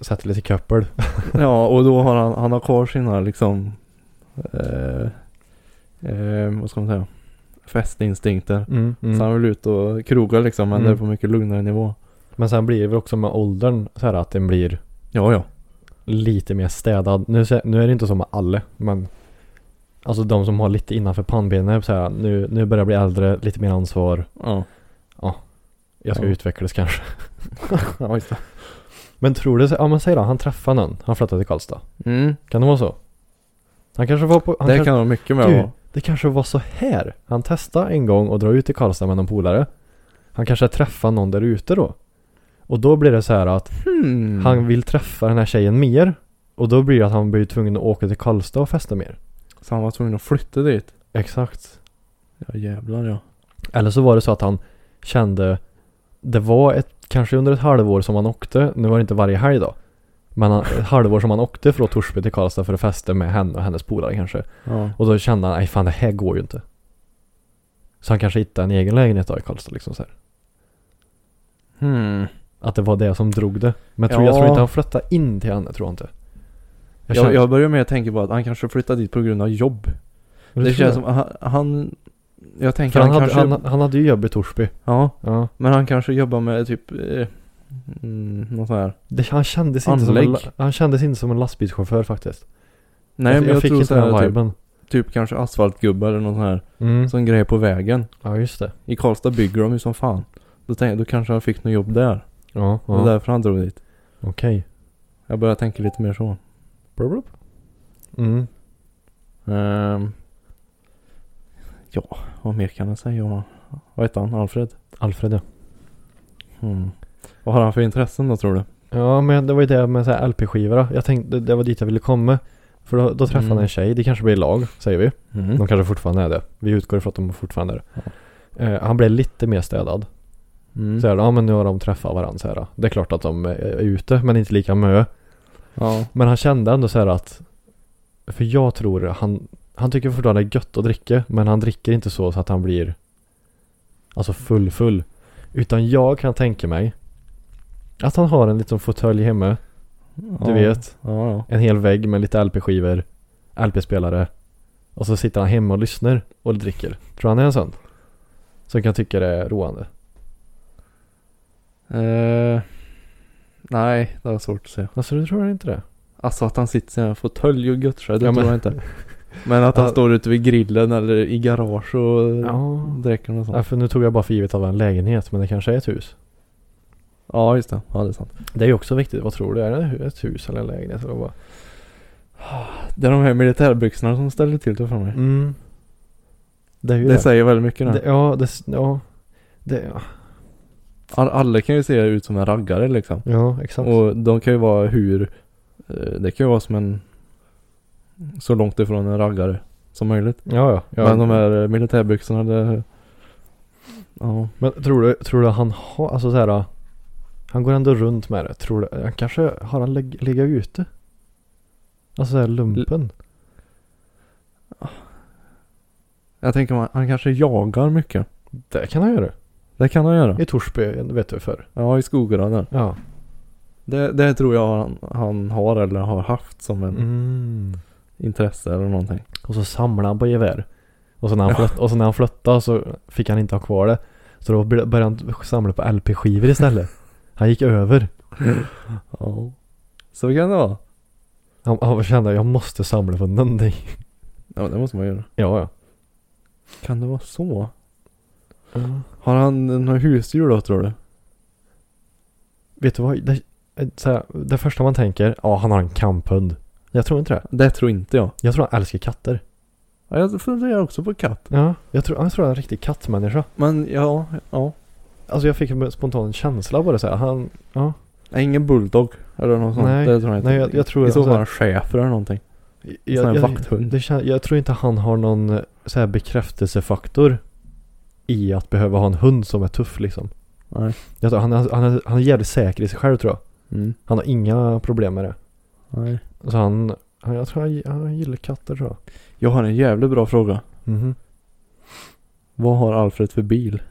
A: sätter lite köppel.
B: Ja, och då har han, han har kvar sina liksom, eh, eh, vad ska man säga, festinstinkter.
A: Mm, mm.
B: Så han vill ut och kroga liksom, men
A: Mm.
B: det är på mycket lugnare nivå.
A: Men sen blir det väl också med åldern så här att den blir
B: Ja, ja.
A: lite mer städad. Nu, sä- nu är det inte så med alla, men Alltså de som har lite innanför pannbenet så här, nu, nu börjar jag bli äldre, lite mer ansvar,
B: Ja.
A: jag ska
B: Ja.
A: utvecklas kanske.
B: ja, just det.
A: Men tror du, ja men säg då, han träffar någon, han flyttar till Karlstad.
B: Mm.
A: Kan det vara så? Han kanske var på, han
B: det
A: kanske-
B: kan ha mycket med
A: Du,
B: att vara.
A: Det kanske var så här. Han testade en gång och dra ut till Karlstad med någon polare. Han kanske träffar någon där ute då. Och då blir det så här att
B: Hmm.
A: han vill träffa den här tjejen mer. Och då blir det att han blir tvungen att åka till Karlstad och festa mer.
B: Så han var tvungen att flytta dit.
A: Exakt.
B: Ja jävlar ja.
A: Eller så var det så att han kände det var ett, kanske under ett halvår som han åkte, nu var det inte varje helg då. Men han, ett halvår som han åkte från Torsby till Karlstad för att festa med henne och hennes polare kanske.
B: Ja.
A: Och då kände han, nej fan det här går ju inte. Så han kanske hittade en egen lägenhet då i Karlstad liksom så här.
B: Hmm.
A: Att det var det som drog det. Men jag tror, jag
B: Ja.
A: tror inte han flyttade in till henne, tror jag inte.
B: Jag,
A: känner-
B: jag, börjar med att tänka på att han kanske flyttade dit på grund av jobb.
A: Men
B: det
A: tror
B: känns
A: jag.
B: som att han, han... Jag tänker
A: För han, hade,
B: kanske...
A: han, han hade ju jobb i Torsby.
B: ja,
A: Ja.
B: men han kanske jobbar med typ... Eh, mm, något sånt här.
A: Det, han, kändes inte som en,
B: Anlägg.
A: la- han kändes inte som en lastbilschaufför faktiskt.
B: Nej
A: jag,
B: men jag,
A: fick
B: tror
A: inte
B: så här
A: den
B: typ,
A: viben.
B: typ kanske asfaltgubbar eller något sånt här.
A: Mm.
B: Sån grej på vägen.
A: Ja, just det.
B: I Karlstad bygger de ju som fan. Då tänkte jag, då kanske han fick något jobb där.
A: Ja,
B: Det var
A: ja.
B: därför han drog dit.
A: okej.
B: Jag börjar tänka lite mer så.
A: Mm.
B: Ehm, ja, vad mer kan jag säga om han? Vad heter han? Alfred?
A: Alfred ja.
B: Mm. Vad har han för intressen då tror du?
A: Ja, men det var ju det med så här LP-skivor då. Jag tänkte, det, det var dit jag ville komma. För då, då träffade
B: Mm.
A: han en tjej, det kanske blir lag, säger vi.
B: Mm.
A: De kanske fortfarande är det. Vi utgår ifrån att de fortfarande är det. Eh, han blev lite mer städad.
B: Mm.
A: Så här, ja men nu har de träffat varandra så här. Det är klart att de är är ute men inte lika mö.
B: Ja.
A: Men han kände ändå så här att För jag tror han Han tycker fortfarande det är gött att dricka men han dricker inte så, så att han blir Alltså full full. Utan jag kan tänka mig Att han har en liten fåtölj hemma. Du
B: ja.
A: vet.
B: Ja, ja.
A: En hel vägg med lite LP-skivor. LP-spelare. Och så sitter han hemma och lyssnar och dricker. Tror han är en sån? Som kan tycka det är roande.
B: Eh, nej, det var svårt att säga.
A: Alltså du tror inte det?
B: Alltså att han sitter i en fåtölj och göttar det
A: Ja, men-
B: tror jag inte. Men att han
A: Ja.
B: står ute vid grillen eller i garage och
A: Ja.
B: dricker något sånt.
A: Ja, för nu tog jag bara för givet att det var en lägenhet, men det kanske är ett hus.
B: Ja, just det. Ja, det är sant.
A: Det är ju också viktigt. Vad tror du? Är det hu- ett hus eller en lägenhet? Eller vad?
B: Det är de här militärbyxorna som ställer till det för mig.
A: Mm. Det är ju
B: Det säger väldigt mycket det.
A: det. Ja, det... s- Ja. Det, ja.
B: All- Alla kan ju se ut som en raggare liksom.
A: ja, exakt.
B: Och de kan ju vara hur... eh, Det kan ju vara som en... Så långt ifrån en raggare som möjligt.
A: ja, ja. ja.
B: Men de här eh, militärbyxorna det... Ja.
A: Men tror du, tror du han har... Alltså så här... Han går ändå runt med det. Tror du... Han kanske... Har han leg, legat ute? Alltså så här lumpen?
B: Jag tänker man, han kanske jagar mycket.
A: Det kan han göra.
B: Det kan han göra.
A: I Torsby, vet du förr.
B: Ja, i skogarna där.
A: Ja.
B: Det, det tror jag han, han har eller har haft som en
A: Mm.
B: intresse eller någonting.
A: Och så samlade han på gevär. Och så när han, flött, och så när han flyttade så fick han inte ha kvar det. Så då bör- började han samla på LP-skivor istället. Han gick över.
B: Ja. Så kan det vara.
A: Han, han kände jag måste samla på någonting.
B: Ja, det måste man göra.
A: Ja, ja.
B: Kan det vara så? Har han några husdjur då tror du?
A: Vet du vad? Det, så här, det första man tänker, ja han har en kamphund. Jag tror inte det.
B: Det tror inte jag.
A: Jag tror han älskar katter.
B: Ja, jag funderar också på katt.
A: Ja. Jag tror, jag tror han är en riktig kattmänniska.
B: Men ja, ja.
A: Alltså jag fick en spontan känsla på det så här. Han, ja.
B: Nej, Ingen bulldog eller något sånt.
A: Nej,
B: det tror jag inte.
A: nej, jag- jag tror
B: I så
A: alltså-
B: fall en schäfer eller någonting. Sån här
A: Jag, jag,
B: vakthund.
A: det kän, jag tror inte han har någon eh, så här bekräftelsefaktor i att behöva ha en hund som är tuff liksom.
B: Nej.
A: Jag tror, han, är- han, är- han är jävligt säker i sig själv tror jag.
B: Mm.
A: Han har inga problem med det.
B: nej.
A: Så han, han jag tror han, han gillar katter tror jag.
B: Jag har en jävligt bra fråga.
A: Mhm.
B: Vad har Alfred för bil?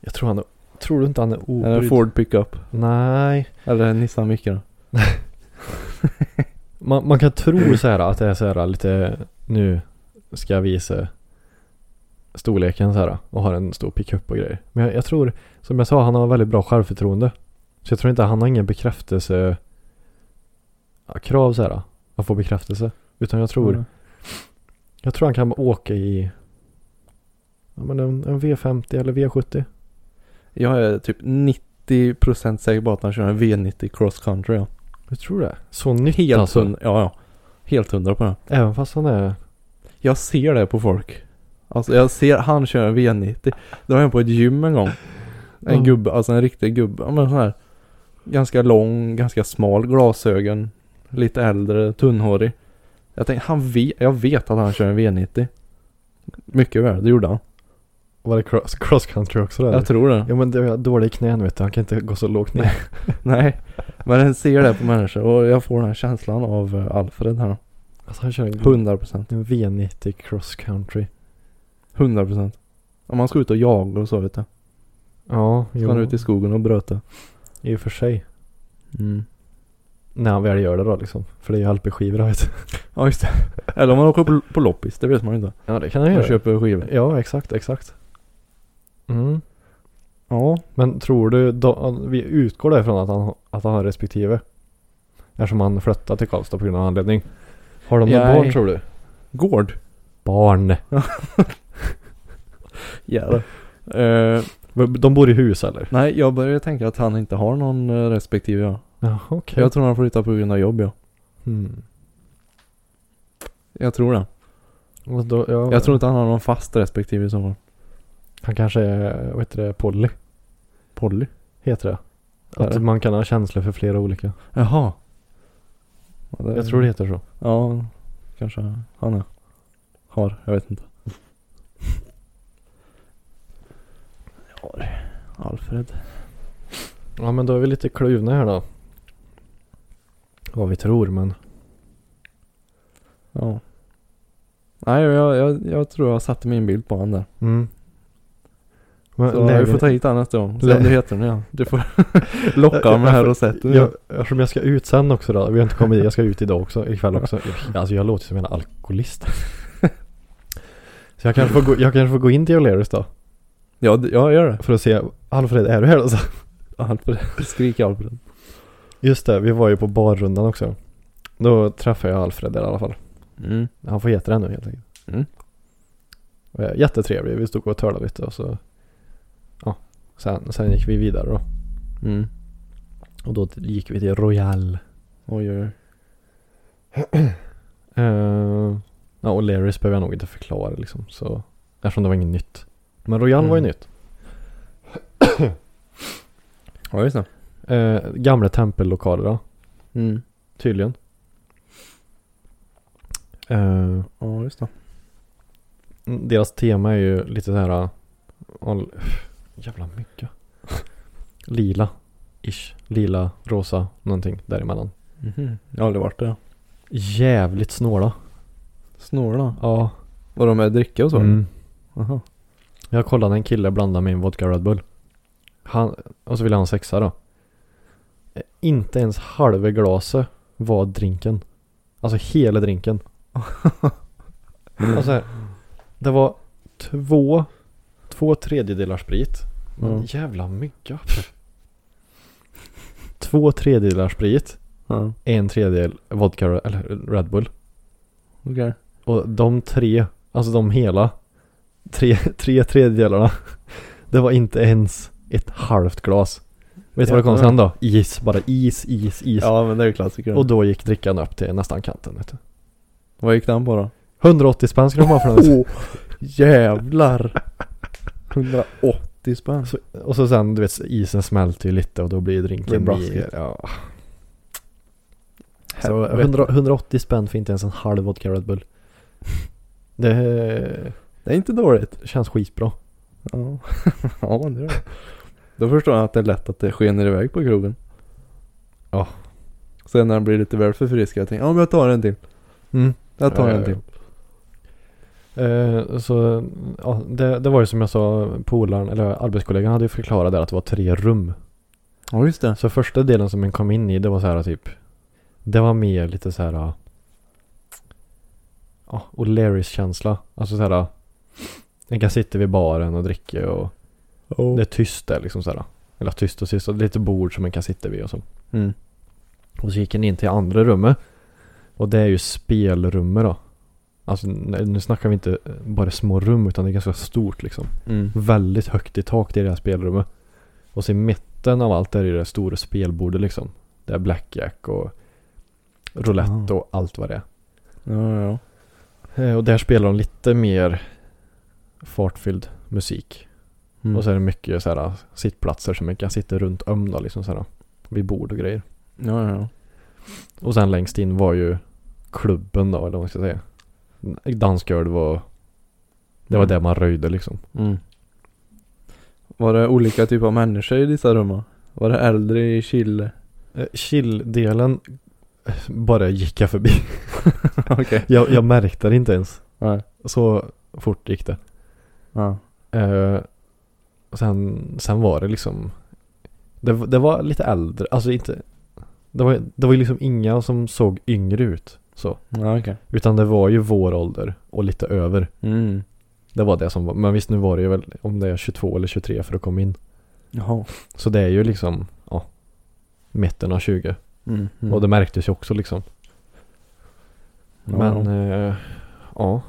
A: Jag tror han är, tror du inte han är
B: Är det en
A: obrydd?
B: Ford pickup?
A: Nej.
B: Eller en Nissan Micra?
A: Man, man kan
B: Mm.
A: tro så här att det är så här lite, nu ska jag visa storleken så här och har en stor pickup och grejer. Men jag, jag tror, som jag sa, han har väldigt bra självförtroende. Så jag tror inte han har ingen bekräftelse ja, krav så här att få bekräftelse. Utan jag tror,
B: Mm.
A: Jag tror han kan åka i ja, men en, en V50 eller V70.
B: Jag är typ 90% säker på att han kör en V90 cross country. Ja.
A: Jag tror det. Så nytt
B: Helt,
A: alltså.
B: hund, ja, ja. Helt hundra på det.
A: Även fast han är...
B: Jag ser det på folk. Alltså jag ser han kör en V90. Det var en på ett gym en gång. En
A: Ja.
B: gubbe, alltså en riktig gubbe. Ja, men sån här. Ganska lång, ganska smal glasögon. Lite äldre, tunnhårig. Jag tänkte, han vet, jag vet att han kör en V90. Mycket väl, det gjorde han.
A: Var det cross, cross country också där?
B: Jag tror det.
A: Ja men det är dålig i knän vet du. Han kan inte gå så lågt ner.
B: Nej, men jag ser det på människor och jag får den här känslan av eh, Alfred här.
A: Alltså han kör en,
B: 100 procent.
A: en V90 cross country.
B: 100 procent. Om man ska ut och jaga och så vet du.
A: Ja,
B: Ska han ut i skogen och bröta.
A: i och för sig. Mm. När han väl gör det då liksom. För det är ju alpeskivor han vet.
B: Ja just det. Eller om man åker på, på loppis, det vet man ju inte.
A: Ja det kan han
B: Man
A: göra.
B: köper skivor.
A: Ja exakt, exakt. Mm.
B: Ja.
A: Men tror du, då, vi utgår därifrån att han, att han har respektive? Eftersom han flyttat till Karlstad på grund av anledning. Har de några
B: Nej.
A: barn tror du?
B: Gård.
A: Barn!
B: Jävlar. Eh,
A: De bor i hus eller?
B: nej, jag börjar tänka att han inte har någon eh, respektive ja.
A: Ja, okej.
B: Jag tror han flyttar på grund av jobb ja.
A: Mm.
B: Jag tror det.
A: Och Då, ja,
B: Jag tror inte han har någon fast respektive i så fall.
A: Han kanske är, vad heter det, poly?
B: Polly.
A: Heter det?
B: Är
A: Att
B: det?
A: man kan ha känslor för flera olika.
B: Jaha. Ja,
A: Jag tror det heter så.
B: Ja, kanske han är. Har, jag vet inte. Ja, Alfred.
A: Ja men då är vi lite kluvna här då. Vad vi tror men.
B: Ja. Nej, jag, jag, jag tror jag satte min bild på han där.
A: Mm. Men
B: Så
A: läge-
B: vi får ta hit han nästa gång. Se
A: Lä-
B: om du heter den igen. Du får locka honom med här rosetten.
A: jag, Eftersom jag ska ut sen också då. Vi har inte kommit dit. Jag ska ut idag också. Ikväll också. Alltså jag låter som en alkoholist. Så jag kanske får gå, jag kanske får gå in till O'Learys då.
B: Ja, d- ja, gör det.
A: För att se. Alfred är du här alltså?
B: Alfred. Skrik Alfred.
A: Just det. Vi var ju på barrundan också. Då träffade jag Alfred där i alla fall.
B: Mm.
A: Han får heta det nu helt enkelt.
B: Mm.
A: Eh, Jättetrevlig. Vi stod och tölade lite och så. Ja. Sen, sen gick vi vidare då.
B: Mm.
A: Och då gick vi till Royal.
B: Oj, oj, oj.
A: Eh, ja, och Larrys behöver jag nog inte förklara liksom. Så, eftersom det var inget nytt. Men Royal var ju
B: Mm.
A: nytt.
B: Ja, just det.
A: Eh, gamla tempellokaler då,
B: Mm.
A: tydligen. Eh,
B: Ja, just det.
A: deras tema är ju lite så här... eh, all- jävla mycket. Lila. Ish. Lila, rosa, någonting däremellan.
B: Mhm. Jag har aldrig varit där.
A: Jävligt snåla.
B: Snåla.
A: Ja.
B: Var de med dricka och så?
A: Mm.
B: Aha.
A: Jag kollade en kille blanda med en vodka Red Bull. Han, och så ville han sexa då. Eh, Inte ens halva glaset var drinken. Alltså hela drinken. alltså här, det var två, två tredjedelar sprit. Men
B: Mm.
A: jävla mygga. två tredjedelar sprit,
B: Ja.
A: en tredjedel vodka eller Red Bull.
B: Okej.
A: Och de tre, alltså de hela, tre, tre tredjedelarna, det var inte ens ett halvt glas. Vet du vad det kom
B: Jävlar.
A: sen då? Is, bara is, is, is.
B: Ja, men det är ju klassiker.
A: Och då gick drickan upp till nästan kanten vet du.
B: Vad gick den på då?
A: 180 spänn skulle de ha för den.
B: Åh, jävlar! 180 spänn.
A: Så, och så sen, du vet, isen smälter ju lite och då blir drinken
B: Blir braskigt.
A: blir, ja. Så 100, 180 spänn för inte ens en halv vodka Red Bull. Det eh,
B: Det är inte dåligt.
A: känns skitbra.
B: Ja, ja det är det. Då förstår jag att det är lätt att det skenar iväg på krogen.
A: Ja.
B: Sen när den blir lite väl förfriskad, jag tänker ja men jag tar en till.
A: Mm.
B: Jag tar
A: Ja,
B: en
A: ja,
B: till.
A: Eh, så ja, det, det var ju som jag sa, polaren eller arbetskollegan hade ju förklarat där att det var tre rum.
B: Ja just det.
A: Så Alltså, första delen som man kom in i det var så här typ, det var mer lite så här, ja, och Larrys känsla. Alltså så här, man kan sitta vid baren och dricka och det är tyst där liksom så här. Eller tyst och tyst, och lite bord som man kan sitta vid och så.
B: Mm.
A: Och så gick han in till andra rummet. Och det är ju spelrummet då. alltså n- nu snackar vi inte bara små rum utan det är ganska stort liksom.
B: Mm.
A: Väldigt högt i tak det är det här spelrummet. Och så i mitten av allt där är det stora spelbordet liksom. Där är blackjack och roulette
B: Ah.
A: och allt vad det är.
B: Ja, ja.
A: Eh, Och där spelar de lite mer fartfylld musik.
B: Mm.
A: Och så är det mycket så här sittplatser som man kan sitta runt om då liksom så här. Vid bord och grejer.
B: ja, ja, ja.
A: Och sen längst in var ju klubben då, eller vad man ska säga. Dansgolv och det var
B: Mm.
A: där man röjde liksom.
B: Mm. Var det olika typer av människor i dessa rum? va? Var det äldre i Chile?
A: Eh, Chill-delen eh, bara gick jag förbi.
B: Okej.
A: jag, jag märkte det inte ens.
B: Nej.
A: Så fort gick det.
B: Ja.
A: Eh, och sen, sen var det liksom det, var- det var lite äldre, alltså inte Det var ju det var ju liksom inga som såg yngre ut så
B: Ja, okej.
A: Utan det var ju vår ålder och lite över
B: Mm.
A: Det var det som var, men visst nu var det ju väl om det är 22 eller 23 för att komma in
B: Jaha.
A: Så det är ju liksom, ja Mitten av 20
B: Mm. Mm.
A: och det märktes ju också liksom
B: Ja,
A: Men,
B: ja.
A: eh, ja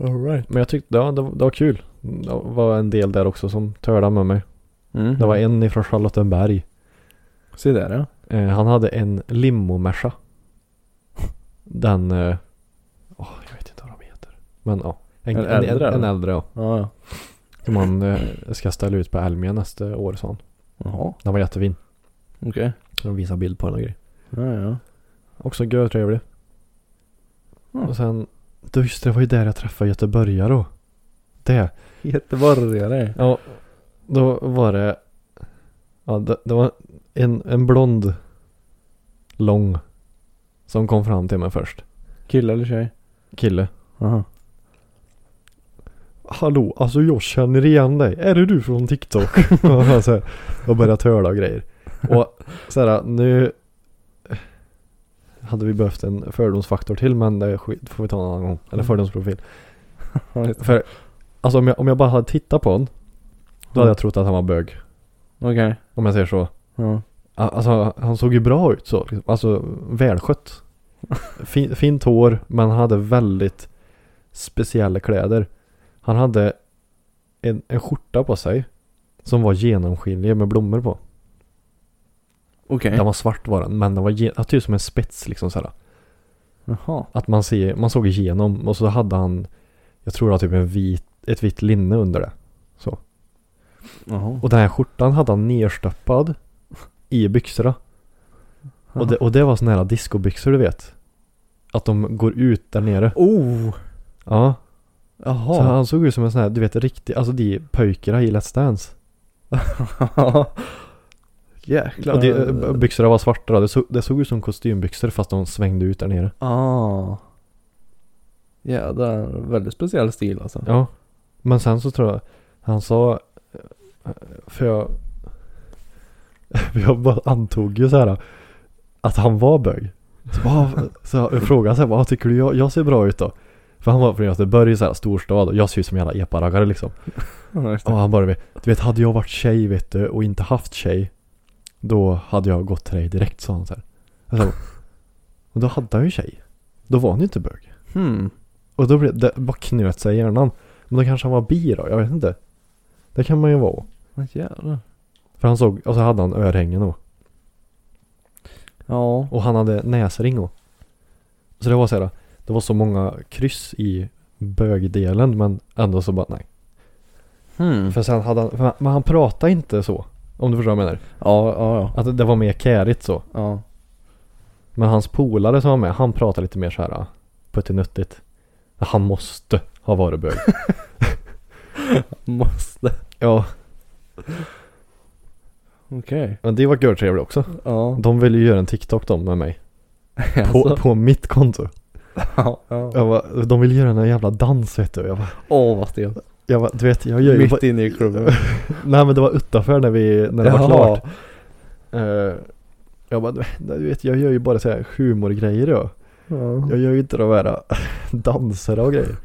B: All right.
A: Men jag tyckte, ja det, var- det var kul Det var en del där också som törlade med mig
B: Mm.
A: Det var en ifrån Charlottenberg
B: Se där ja.
A: Eh, han hade en limomersa. Den... Eh, åh, jag vet inte vad de heter. Men ja. En,
B: En
A: en,
B: äldre,
A: en, en
B: eller?
A: äldre ja.
B: Ja, ja.
A: Som man eh, ska ställa ut på Elmia nästa år sa han.
B: Jaha.
A: Den var jättefin.
B: Okej.
A: De visar bild på den och grejer.
B: Ja, ja.
A: Också görtrevlig.
B: Mm.
A: Och sen... Då just det, det var ju där jag träffade göteborgare då. Det.
B: Göteborgare.
A: Ja. Då var det... Ja, det, det var en, en blond lång som kom fram till mig först.
B: Kille eller tjej?
A: Kille.
B: Jaha.
A: Hallå, alltså jag känner igen dig. Är det du från TikTok? alltså, Och så här, och började töla och grejer. Och så här, nu hade vi behövt en fördomsfaktor till men det är skit, får vi ta en annan gång. Eller fördomsprofil.
B: Ja, just det.
A: För alltså om jag, om jag bara hade tittat på honom, då hade jag trott att han var bög.
B: Okej.
A: Om jag säger så.
B: Ja.
A: A- Alltså han såg ju bra ut så. liksom. Alltså välskött. Fin, fint hår men han hade väldigt speciella kläder. Han hade en, en skjorta på sig som var genomskinlig med blommor på.
B: Okej.
A: Den var svart var den men den var gen- typ som en spets liksom så här.
B: Jaha.
A: Att man, ser, man såg igenom och så hade han jag tror det var typ en vit, ett vitt linne under det.
B: Jaha.
A: Och den här skjortan hade han nerstoppad i byxorna. Och det, och det var såna här discobyxor du vet. Att de går ut där nere.
B: Oh!
A: Ja. Så
B: Jaha.
A: han såg ut som en sån här, du vet riktig, alltså de pojkarna i Let's Dance.
B: Jäklar.
A: Och de, eh, byxorna var svarta då. det, såg, det såg ut som kostymbyxor fast de svängde ut där nere.
B: Ah. Jädrar, väldigt speciell stil alltså.
A: Ja. Men sen så tror jag, han sa, eh, för jag, jag bara antog ju så här att han var bög. Så, bara, så jag frågade så här, vad tycker du jag, jag ser bra ut då? För han var från Göteborg, så här storstad och jag ser ut som en jävla epa-raggare liksom.
B: Ja, just det.
A: Och han bara, du vet hade jag varit tjej vet du och inte haft tjej Då hade jag gått till dig direkt sa han så här. Jag sa, och då hade han ju tjej Då var han ju inte bög
B: Hmm.
A: Och då blev det, bara knöt sig i hjärnan Men då kanske han var bi då, jag vet inte Det kan man ju vara
B: Vad jävlar.
A: För han såg, och så hade han örhängen och,
B: Ja.
A: och han hade näsring och Så det var så här, det var så många kryss i bögdelen men ändå så bara nej
B: Hmm.
A: För sen hade han, för han, men han pratade inte så Om du förstår vad jag menar
B: Ja, ja, ja.
A: Att det- det var mer kärigt så
B: Ja.
A: Men hans polare som var med, han pratade lite mer så här puttinuttigt. Han måste ha varit bög.
B: Måste.
A: ja,
B: Okej.
A: men det var görtrevligt också.
B: Ja.
A: De ville ju göra en TikTok de med mig. På,
B: Alltså.
A: på mitt konto.
B: Ja. ja.
A: Jag bara, de ville göra en jävla dans vet du. Jag bara,
B: Åh vad stelt.
A: jag bara, du vet jag gör ju...
B: Mitt inne i klubben.
A: Nej men det var utanför när vi, när det var
B: Jaha.
A: klart. Eh, jag bara, du vet jag gör ju bara så här humorgrejer jag.
B: Ja.
A: Jag gör ju inte de här äh, danserna och grejer.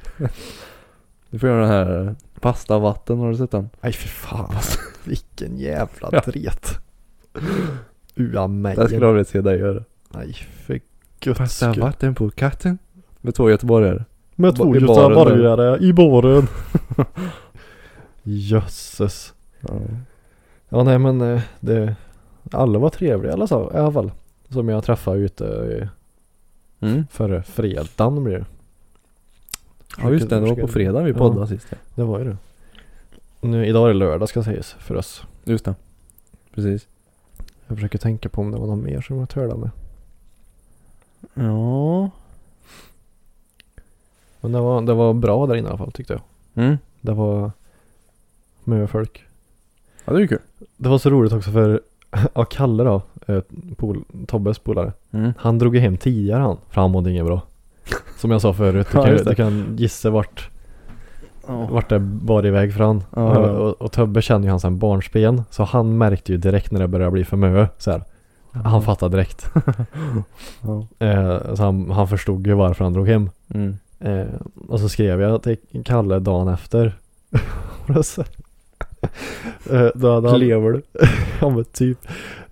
B: Du får göra den här eh, pastavatten, har du sett den?
A: Nej för fan alltså. Vilken jävla
B: Ja.
A: dret. Ua mig.
B: Jag skulle ha velat se dig göra.
A: Nej för guds skull.
B: Pastavatten på katten. Med två göteborgare.
A: Med två
B: I baren där.
A: göteborgare
B: eh,
A: i baren. Jösses.
B: Ja.
A: Ja nej men eh, det, alla var trevliga i alla fall- i alla fall. Som jag träffade ute i-
B: Mm.
A: förra fredagen blir det.
B: ja just det, det var på fredag vi
A: Ja.
B: poddade sist. ja.
A: Det var ju det. Nu, idag är det lördag ska sägas för oss.
B: Just det. Precis.
A: Jag försöker tänka på om det var något mer som jag törlade med.
B: Ja.
A: Men det var, det var bra där inne i alla fall tyckte jag.
B: Mm.
A: Det var mycket folk.
B: Ja det är ju kul.
A: Det var så roligt också för, ja Kalle då, eh, pol, Tobbes polare.
B: Mm.
A: Han drog ju hem tidigare han, för han mådde inget bra. Som jag sa förut, du
B: Ja,
A: kan,
B: just det.
A: du kan gissa vart,
B: Ja.
A: vart det bar iväg från.
B: Ja, ja.
A: Och, och Tobbe känner ju han sedan barnsben. Så han märkte ju direkt när det började bli för mycket så här. Han fattade direkt.
B: Ja.
A: Eh, så han, han förstod ju varför han drog hem.
B: Mm.
A: Eh, och så skrev jag till Kalle dagen efter. Och då så- eh, då hade han,
B: Lever du?
A: ja men typ.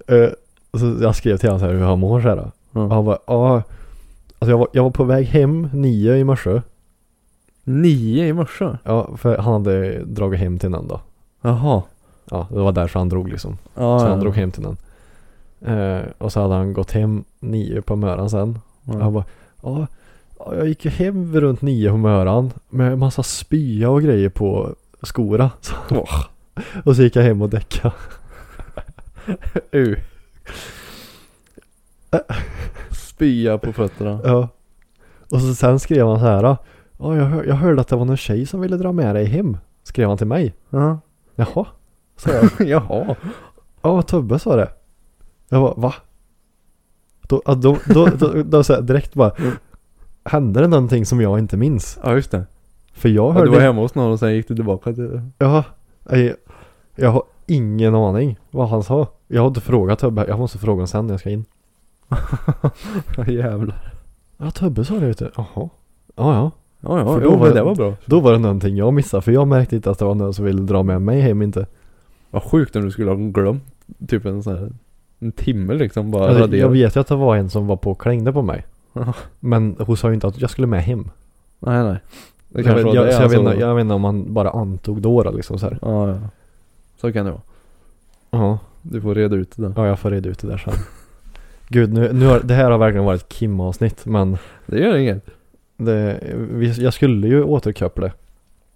A: Eh, och så jag skrev till honom så här hur han mår så här. då. Och
B: Ja.
A: han bara, ja. Alltså jag var, jag var på väg hem nio i morse.
B: Nio i morse?
A: Ja, för han hade dragit hem till någon då.
B: Jaha.
A: Ja, det var därför han drog liksom.
B: Ja,
A: så
B: ja.
A: han drog hem till någon. Eh, och så hade han gått hem nio på möran sen. Och han
B: Ja.
A: bara, ja, ja, jag gick ju hem runt nio på möran med massa spya och grejer på skorna. Så, och så gick jag hem och däckade.
B: Uh. Spya på fötterna.
A: Ja. Och så sen skrev han så här, ja, jag, hör, jag hörde att det var någon tjej som ville dra med dig hem. Skrev han till mig.
B: Ja.
A: Jaha, sa jag.
B: Jaha.
A: Ja, Tobbe sa det. Jag bara, va? Då, ja, då, då, då, då, så här, direkt bara, hände det någonting som jag inte minns?
B: Ja just det.
A: För jag
B: Ja, du
A: hörde,
B: var
A: ja,
B: hemma hos någon och sen gick du tillbaka till...
A: jag, jag har ingen aning vad han sa. Jag har inte frågat Tobbe, jag måste fråga honom sen när jag ska in.
B: Jävlar.
A: Ja, Tubbe sa det vet du. Jaha. Ja, ja.
B: Ja ja,
A: För
B: jo,
A: då var
B: men
A: det-
B: det var bra.
A: Då var det någonting jag missade, för jag märkte inte att det var någon som ville dra med mig hem inte.
B: Vad sjukt om du skulle ha glömt typ en sån här en timme liksom bara
A: Alltså,
B: radera.
A: jag vet ju att det var en som var på och klängde på mig.
B: Ja.
A: Men hon sa ju inte att jag skulle med hem.
B: Nej nej. Det
A: Jag,
B: kanske var
A: jag,
B: det alltså-
A: så jag,
B: han
A: vet
B: såg.
A: inte, jag vet inte om man bara antog då då, liksom så här.
B: Ja ja. Så kan det vara.
A: Ja,
B: Du får reda ut det där.
A: ja jag får reda ut det där sen. Gud, nu, nu har, det här har verkligen varit ett Kim-avsnitt, men
B: Det gör inget.
A: det, vi, jag skulle ju återkoppla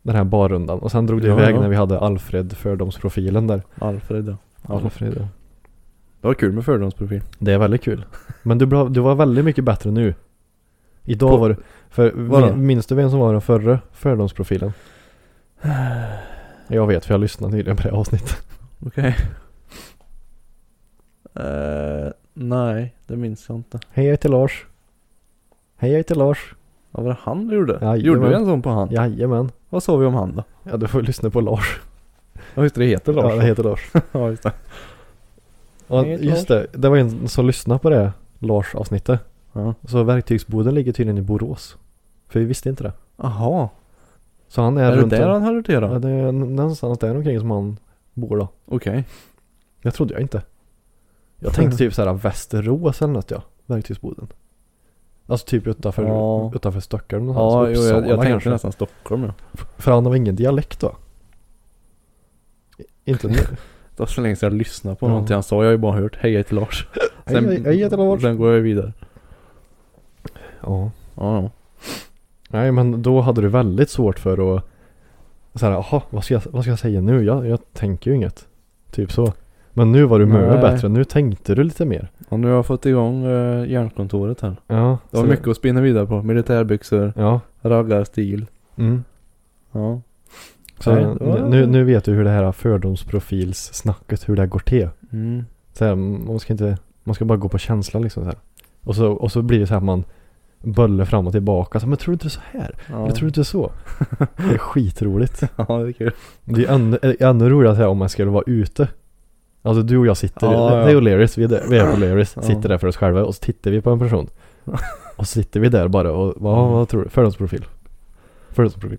A: den här barrundan. Och sen drog det
B: Ja,
A: iväg
B: ja.
A: när vi hade Alfred fördomsprofilen där.
B: Alfred ja.
A: Alfred, ja.
B: Det var kul med fördomsprofil.
A: Det är väldigt kul. Men du, bra- du var väldigt mycket bättre nu. Idag
B: På-
A: var du, för
B: Vadå?
A: min- minns du vem som var den förre fördomsprofilen? Jag vet för jag lyssnade nyligen på det avsnittet.
B: Okej. Eh, nej, det minns jag inte.
A: Hej jag heter Lars. Hej jag heter Lars.
B: Ja, var det han du gjorde?
A: Jajamän.
B: gjorde du en sån på han?
A: Jajamän.
B: Vad sa vi om han då?
A: Ja du får lyssna på Lars.
B: Ja just det, det heter Lars.
A: Ja det heter Lars.
B: ja just det.
A: Ja,
B: Hej, jag heter
A: just det, det var en som lyssnade på det Lars avsnittet.
B: Ja.
A: Så verktygsboden ligger tydligen i Borås. För vi visste inte det.
B: Aha.
A: Så han är,
B: Är det
A: runt
B: där
A: om-
B: han hörde till då?
A: Ja det är någonstans där omkring som han bor då.
B: Okej.
A: Jag trodde jag inte. Jag tänkte typ såhär Västerås eller något ja. Verktygsboden. Alltså typ utanför,
B: Ja.
A: utanför Stockholm
B: Ja, jo,
A: någonstans. Typ
B: jag, jag
A: Uppsala
B: tänkte
A: kanske.
B: nästan Stockholm ja.
A: För han har ingen dialekt då. I- Inte nu.
B: Det var så länge sedan jag lyssnade på
A: Ja.
B: någonting han sa. Jag har ju bara hört Hej jag heter Lars.
A: Hej, hej, hej, jag heter Lars.
B: Sen går jag vidare.
A: ja.
B: Ja, ja.
A: Nej men då hade du väldigt svårt för att såhär, jaha vad, ska jag- vad ska jag säga nu? Jag, jag tänker ju inget. Typ så. Men nu var du mycket
B: Nej.
A: bättre. Nu tänkte du lite mer.
B: Och nu har jag fått igång uh, järnkontoret här.
A: Ja.
B: Det var
A: så-
B: mycket att spinna vidare på. Militärbyxor,
A: Ja.
B: raggarstil.
A: Mm.
B: Ja.
A: Så
B: Nej, det var-
A: nu, nu vet du hur det här fördomsprofilssnacket, hur det här går till.
B: Mm.
A: Så här, man ska inte, man ska bara gå på känsla liksom så här. Och så, och så blir det så här att man böller fram och tillbaka. Så, men tror du inte så här?
B: Ja.
A: Eller tror du inte så? Det är skitroligt.
B: ja, det är kul.
A: Det är ännu, är ännu roligare så här om man skulle vara ute. Alltså du och jag sitter,
B: Ja,
A: det,
B: ja.
A: det är O'Learys, vi är, där, vi är på O'Learys,
B: Ja.
A: sitter där för oss själva och så tittar vi på en person. Och så sitter vi där bara och vad, vad tror du? Fördomsprofil. Fördomsprofil.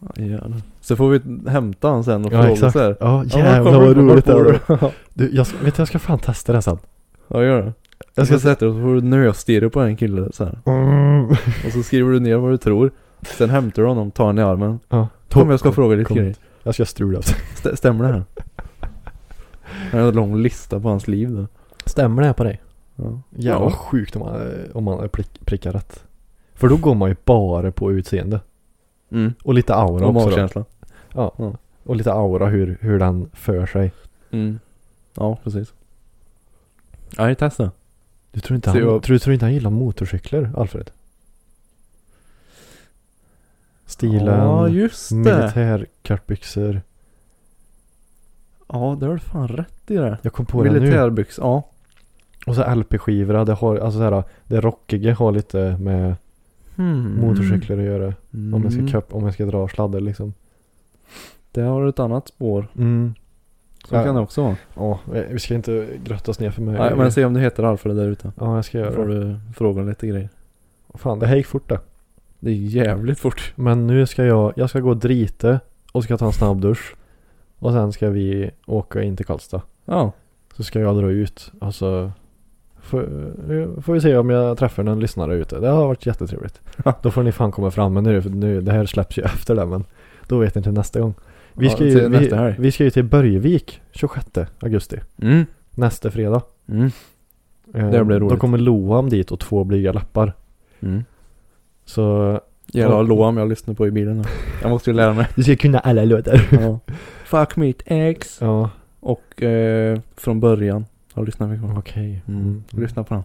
B: Ja, jävlar. Så får vi hämta han sen och
A: Ja
B: fråga
A: exakt.
B: så här.
A: Ja
B: Ja, vart
A: jävlar
B: kommer
A: vad
B: du-
A: roligt det
B: vart
A: här
B: bor
A: var. Du, jag, ska- vet du, jag ska fan testa det sen.
B: Ja, gör det. Jag
A: Jag ska
B: ska
A: se...
B: sätta dig och så får du nöstirra på en kille så här.
A: Mm.
B: Och så skriver du ner vad du tror. Sen hämtar du honom, tar honom i armen.
A: Ja.
B: Kom jag ska fråga lite
A: kom
B: grejer.
A: Jag ska strula.
B: St- stämmer det här? Jag har en lång lista på hans liv då.
A: Stämmer det här på dig?
B: Ja.
A: Jävlar vad sjukt om man, eh, om man prick, prickar rätt. För då går man ju bara på utseende.
B: Mm.
A: Och lite aura
B: Och
A: också då.
B: magkänsla.
A: Och lite aura hur, hur den för sig.
B: Mm. Ja, precis. Ja, jag testar.
A: Du tror inte
B: Så
A: han,
B: jag-
A: tror, tror inte han gillar motorcyklar, Alfred? Stilen,
B: Ja, just det.
A: militärkortbyxor.
B: Ja, det har du fan rätt i det.
A: Jag kom på det nu.
B: Militärbyx, ja.
A: Och så LP-skivorna, det har, alltså såhär, det rockiga har lite med
B: Hmm.
A: motorcyklar att göra.
B: Mm.
A: Om jag ska köp, om jag ska dra sladder liksom.
B: Det har du ett annat spår.
A: Mm.
B: Så
A: Ja.
B: kan det också vara.
A: Ja, vi ska inte grötta oss ner för mig.
B: Nej, men se om du heter Alfred där ute.
A: Ja, jag ska
B: Då
A: göra
B: får
A: det.
B: du fråga lite grejer.
A: Fan, det här gick fort det.
B: Det är jävligt fort.
A: Men nu ska jag, jag ska gå och drita och ska ta en snabb dusch. Och sen ska vi åka in till Karlstad.
B: Ja.
A: Så ska jag dra ut och så får, får vi se om jag träffar någon lyssnare ute. Det har varit jättetrevligt. Då får ni fan komma fram men nu, för nu det här släpps ju efter det men då vet ni till nästa gång. Vi
B: Ja,
A: ska,
B: till
A: ju, vi,
B: nästa helg.
A: vi ska ju till Börjevik 26 augusti.
B: Mm.
A: Nästa fredag.
B: Mm.
A: Eh,
B: Det blir
A: Då
B: roligt.
A: kommer Loam dit och två blyga lappar.
B: Mm.
A: Så
B: Jävla Loam jag lyssnar på i bilen nu. Jag måste ju lära mig.
A: du ska kunna alla låtar.
B: Ja. Fuck mitt ex.
A: Ja,
B: Och eh, från början. Har du lyssnat mycket på.
A: okej.
B: Mm. Lyssna på den.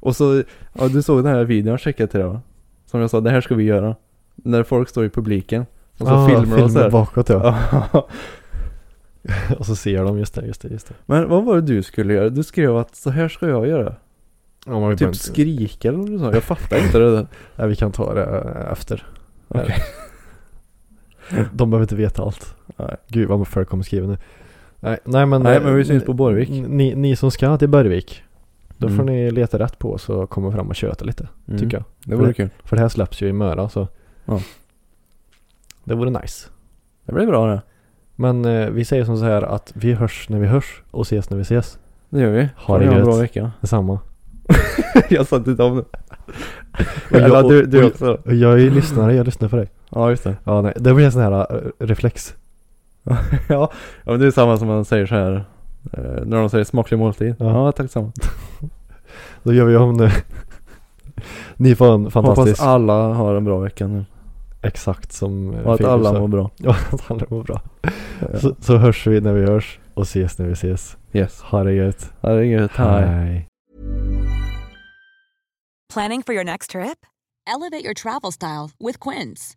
B: Och så, ja du såg den här videon jag skickade till dig va? Som jag sa, det här ska vi göra. När folk står i publiken. Och så
A: Ah,
B: filmar de så här.
A: bakåt ja.
B: Ja.
A: och så ser de, just det, just det, just det.
B: Men vad var det du skulle göra? Du skrev att så här ska jag göra.
A: Ja, man vill bara
B: Typ
A: inte-
B: skrika eller vad du sa. Jag fattar inte det där.
A: Nej, vi kan ta det eh, efter.
B: Okej.
A: De behöver inte veta allt.
B: Nej.
A: Gud vad folk kommer skriva nu. Nej, nej men,
B: Nej,
A: eh,
B: men vi syns på Borgvik.
A: Ni, ni som ska till Borgvik, då
B: Mm.
A: får ni leta rätt på oss och komma fram och köta lite,
B: Mm.
A: tycker jag.
B: Det vore kul.
A: För det här släpps ju i Möra så.
B: Ja.
A: Det vore nice.
B: Det blir bra det.
A: Men eh, vi säger som så här att vi hörs när vi hörs och ses när vi ses.
B: Det gör vi.
A: Ha det
B: Ni en
A: gött.
B: bra vecka.
A: Detsamma.
B: jag satt inte om det.
A: jag-
B: Eller du, du
A: och-
B: också.
A: Och Jag är ju lyssnare, jag lyssnar på dig.
B: Ja just det.
A: Ja, nej, det blir en sån här eh, reflex.
B: ja. ja men det är samma som man säger så här. eh, När de säger smaklig måltid. Ja,
A: Ja.
B: tack detsamma.
A: Då gör vi om nu. Ni får en fantastisk...
B: Hoppas alla har en bra vecka nu.
A: Exakt som eh,
B: Och att
A: Filip
B: alla
A: sa.
B: mår bra.
A: Ja, att alla mår bra.
B: Ja.
A: Så, så hörs vi när vi hörs och ses när vi ses.
B: Yes.
A: Ha det gött.
B: Ja, det är inget. Hej.
D: Planning for your next trip? Elevate your travel style with Quince.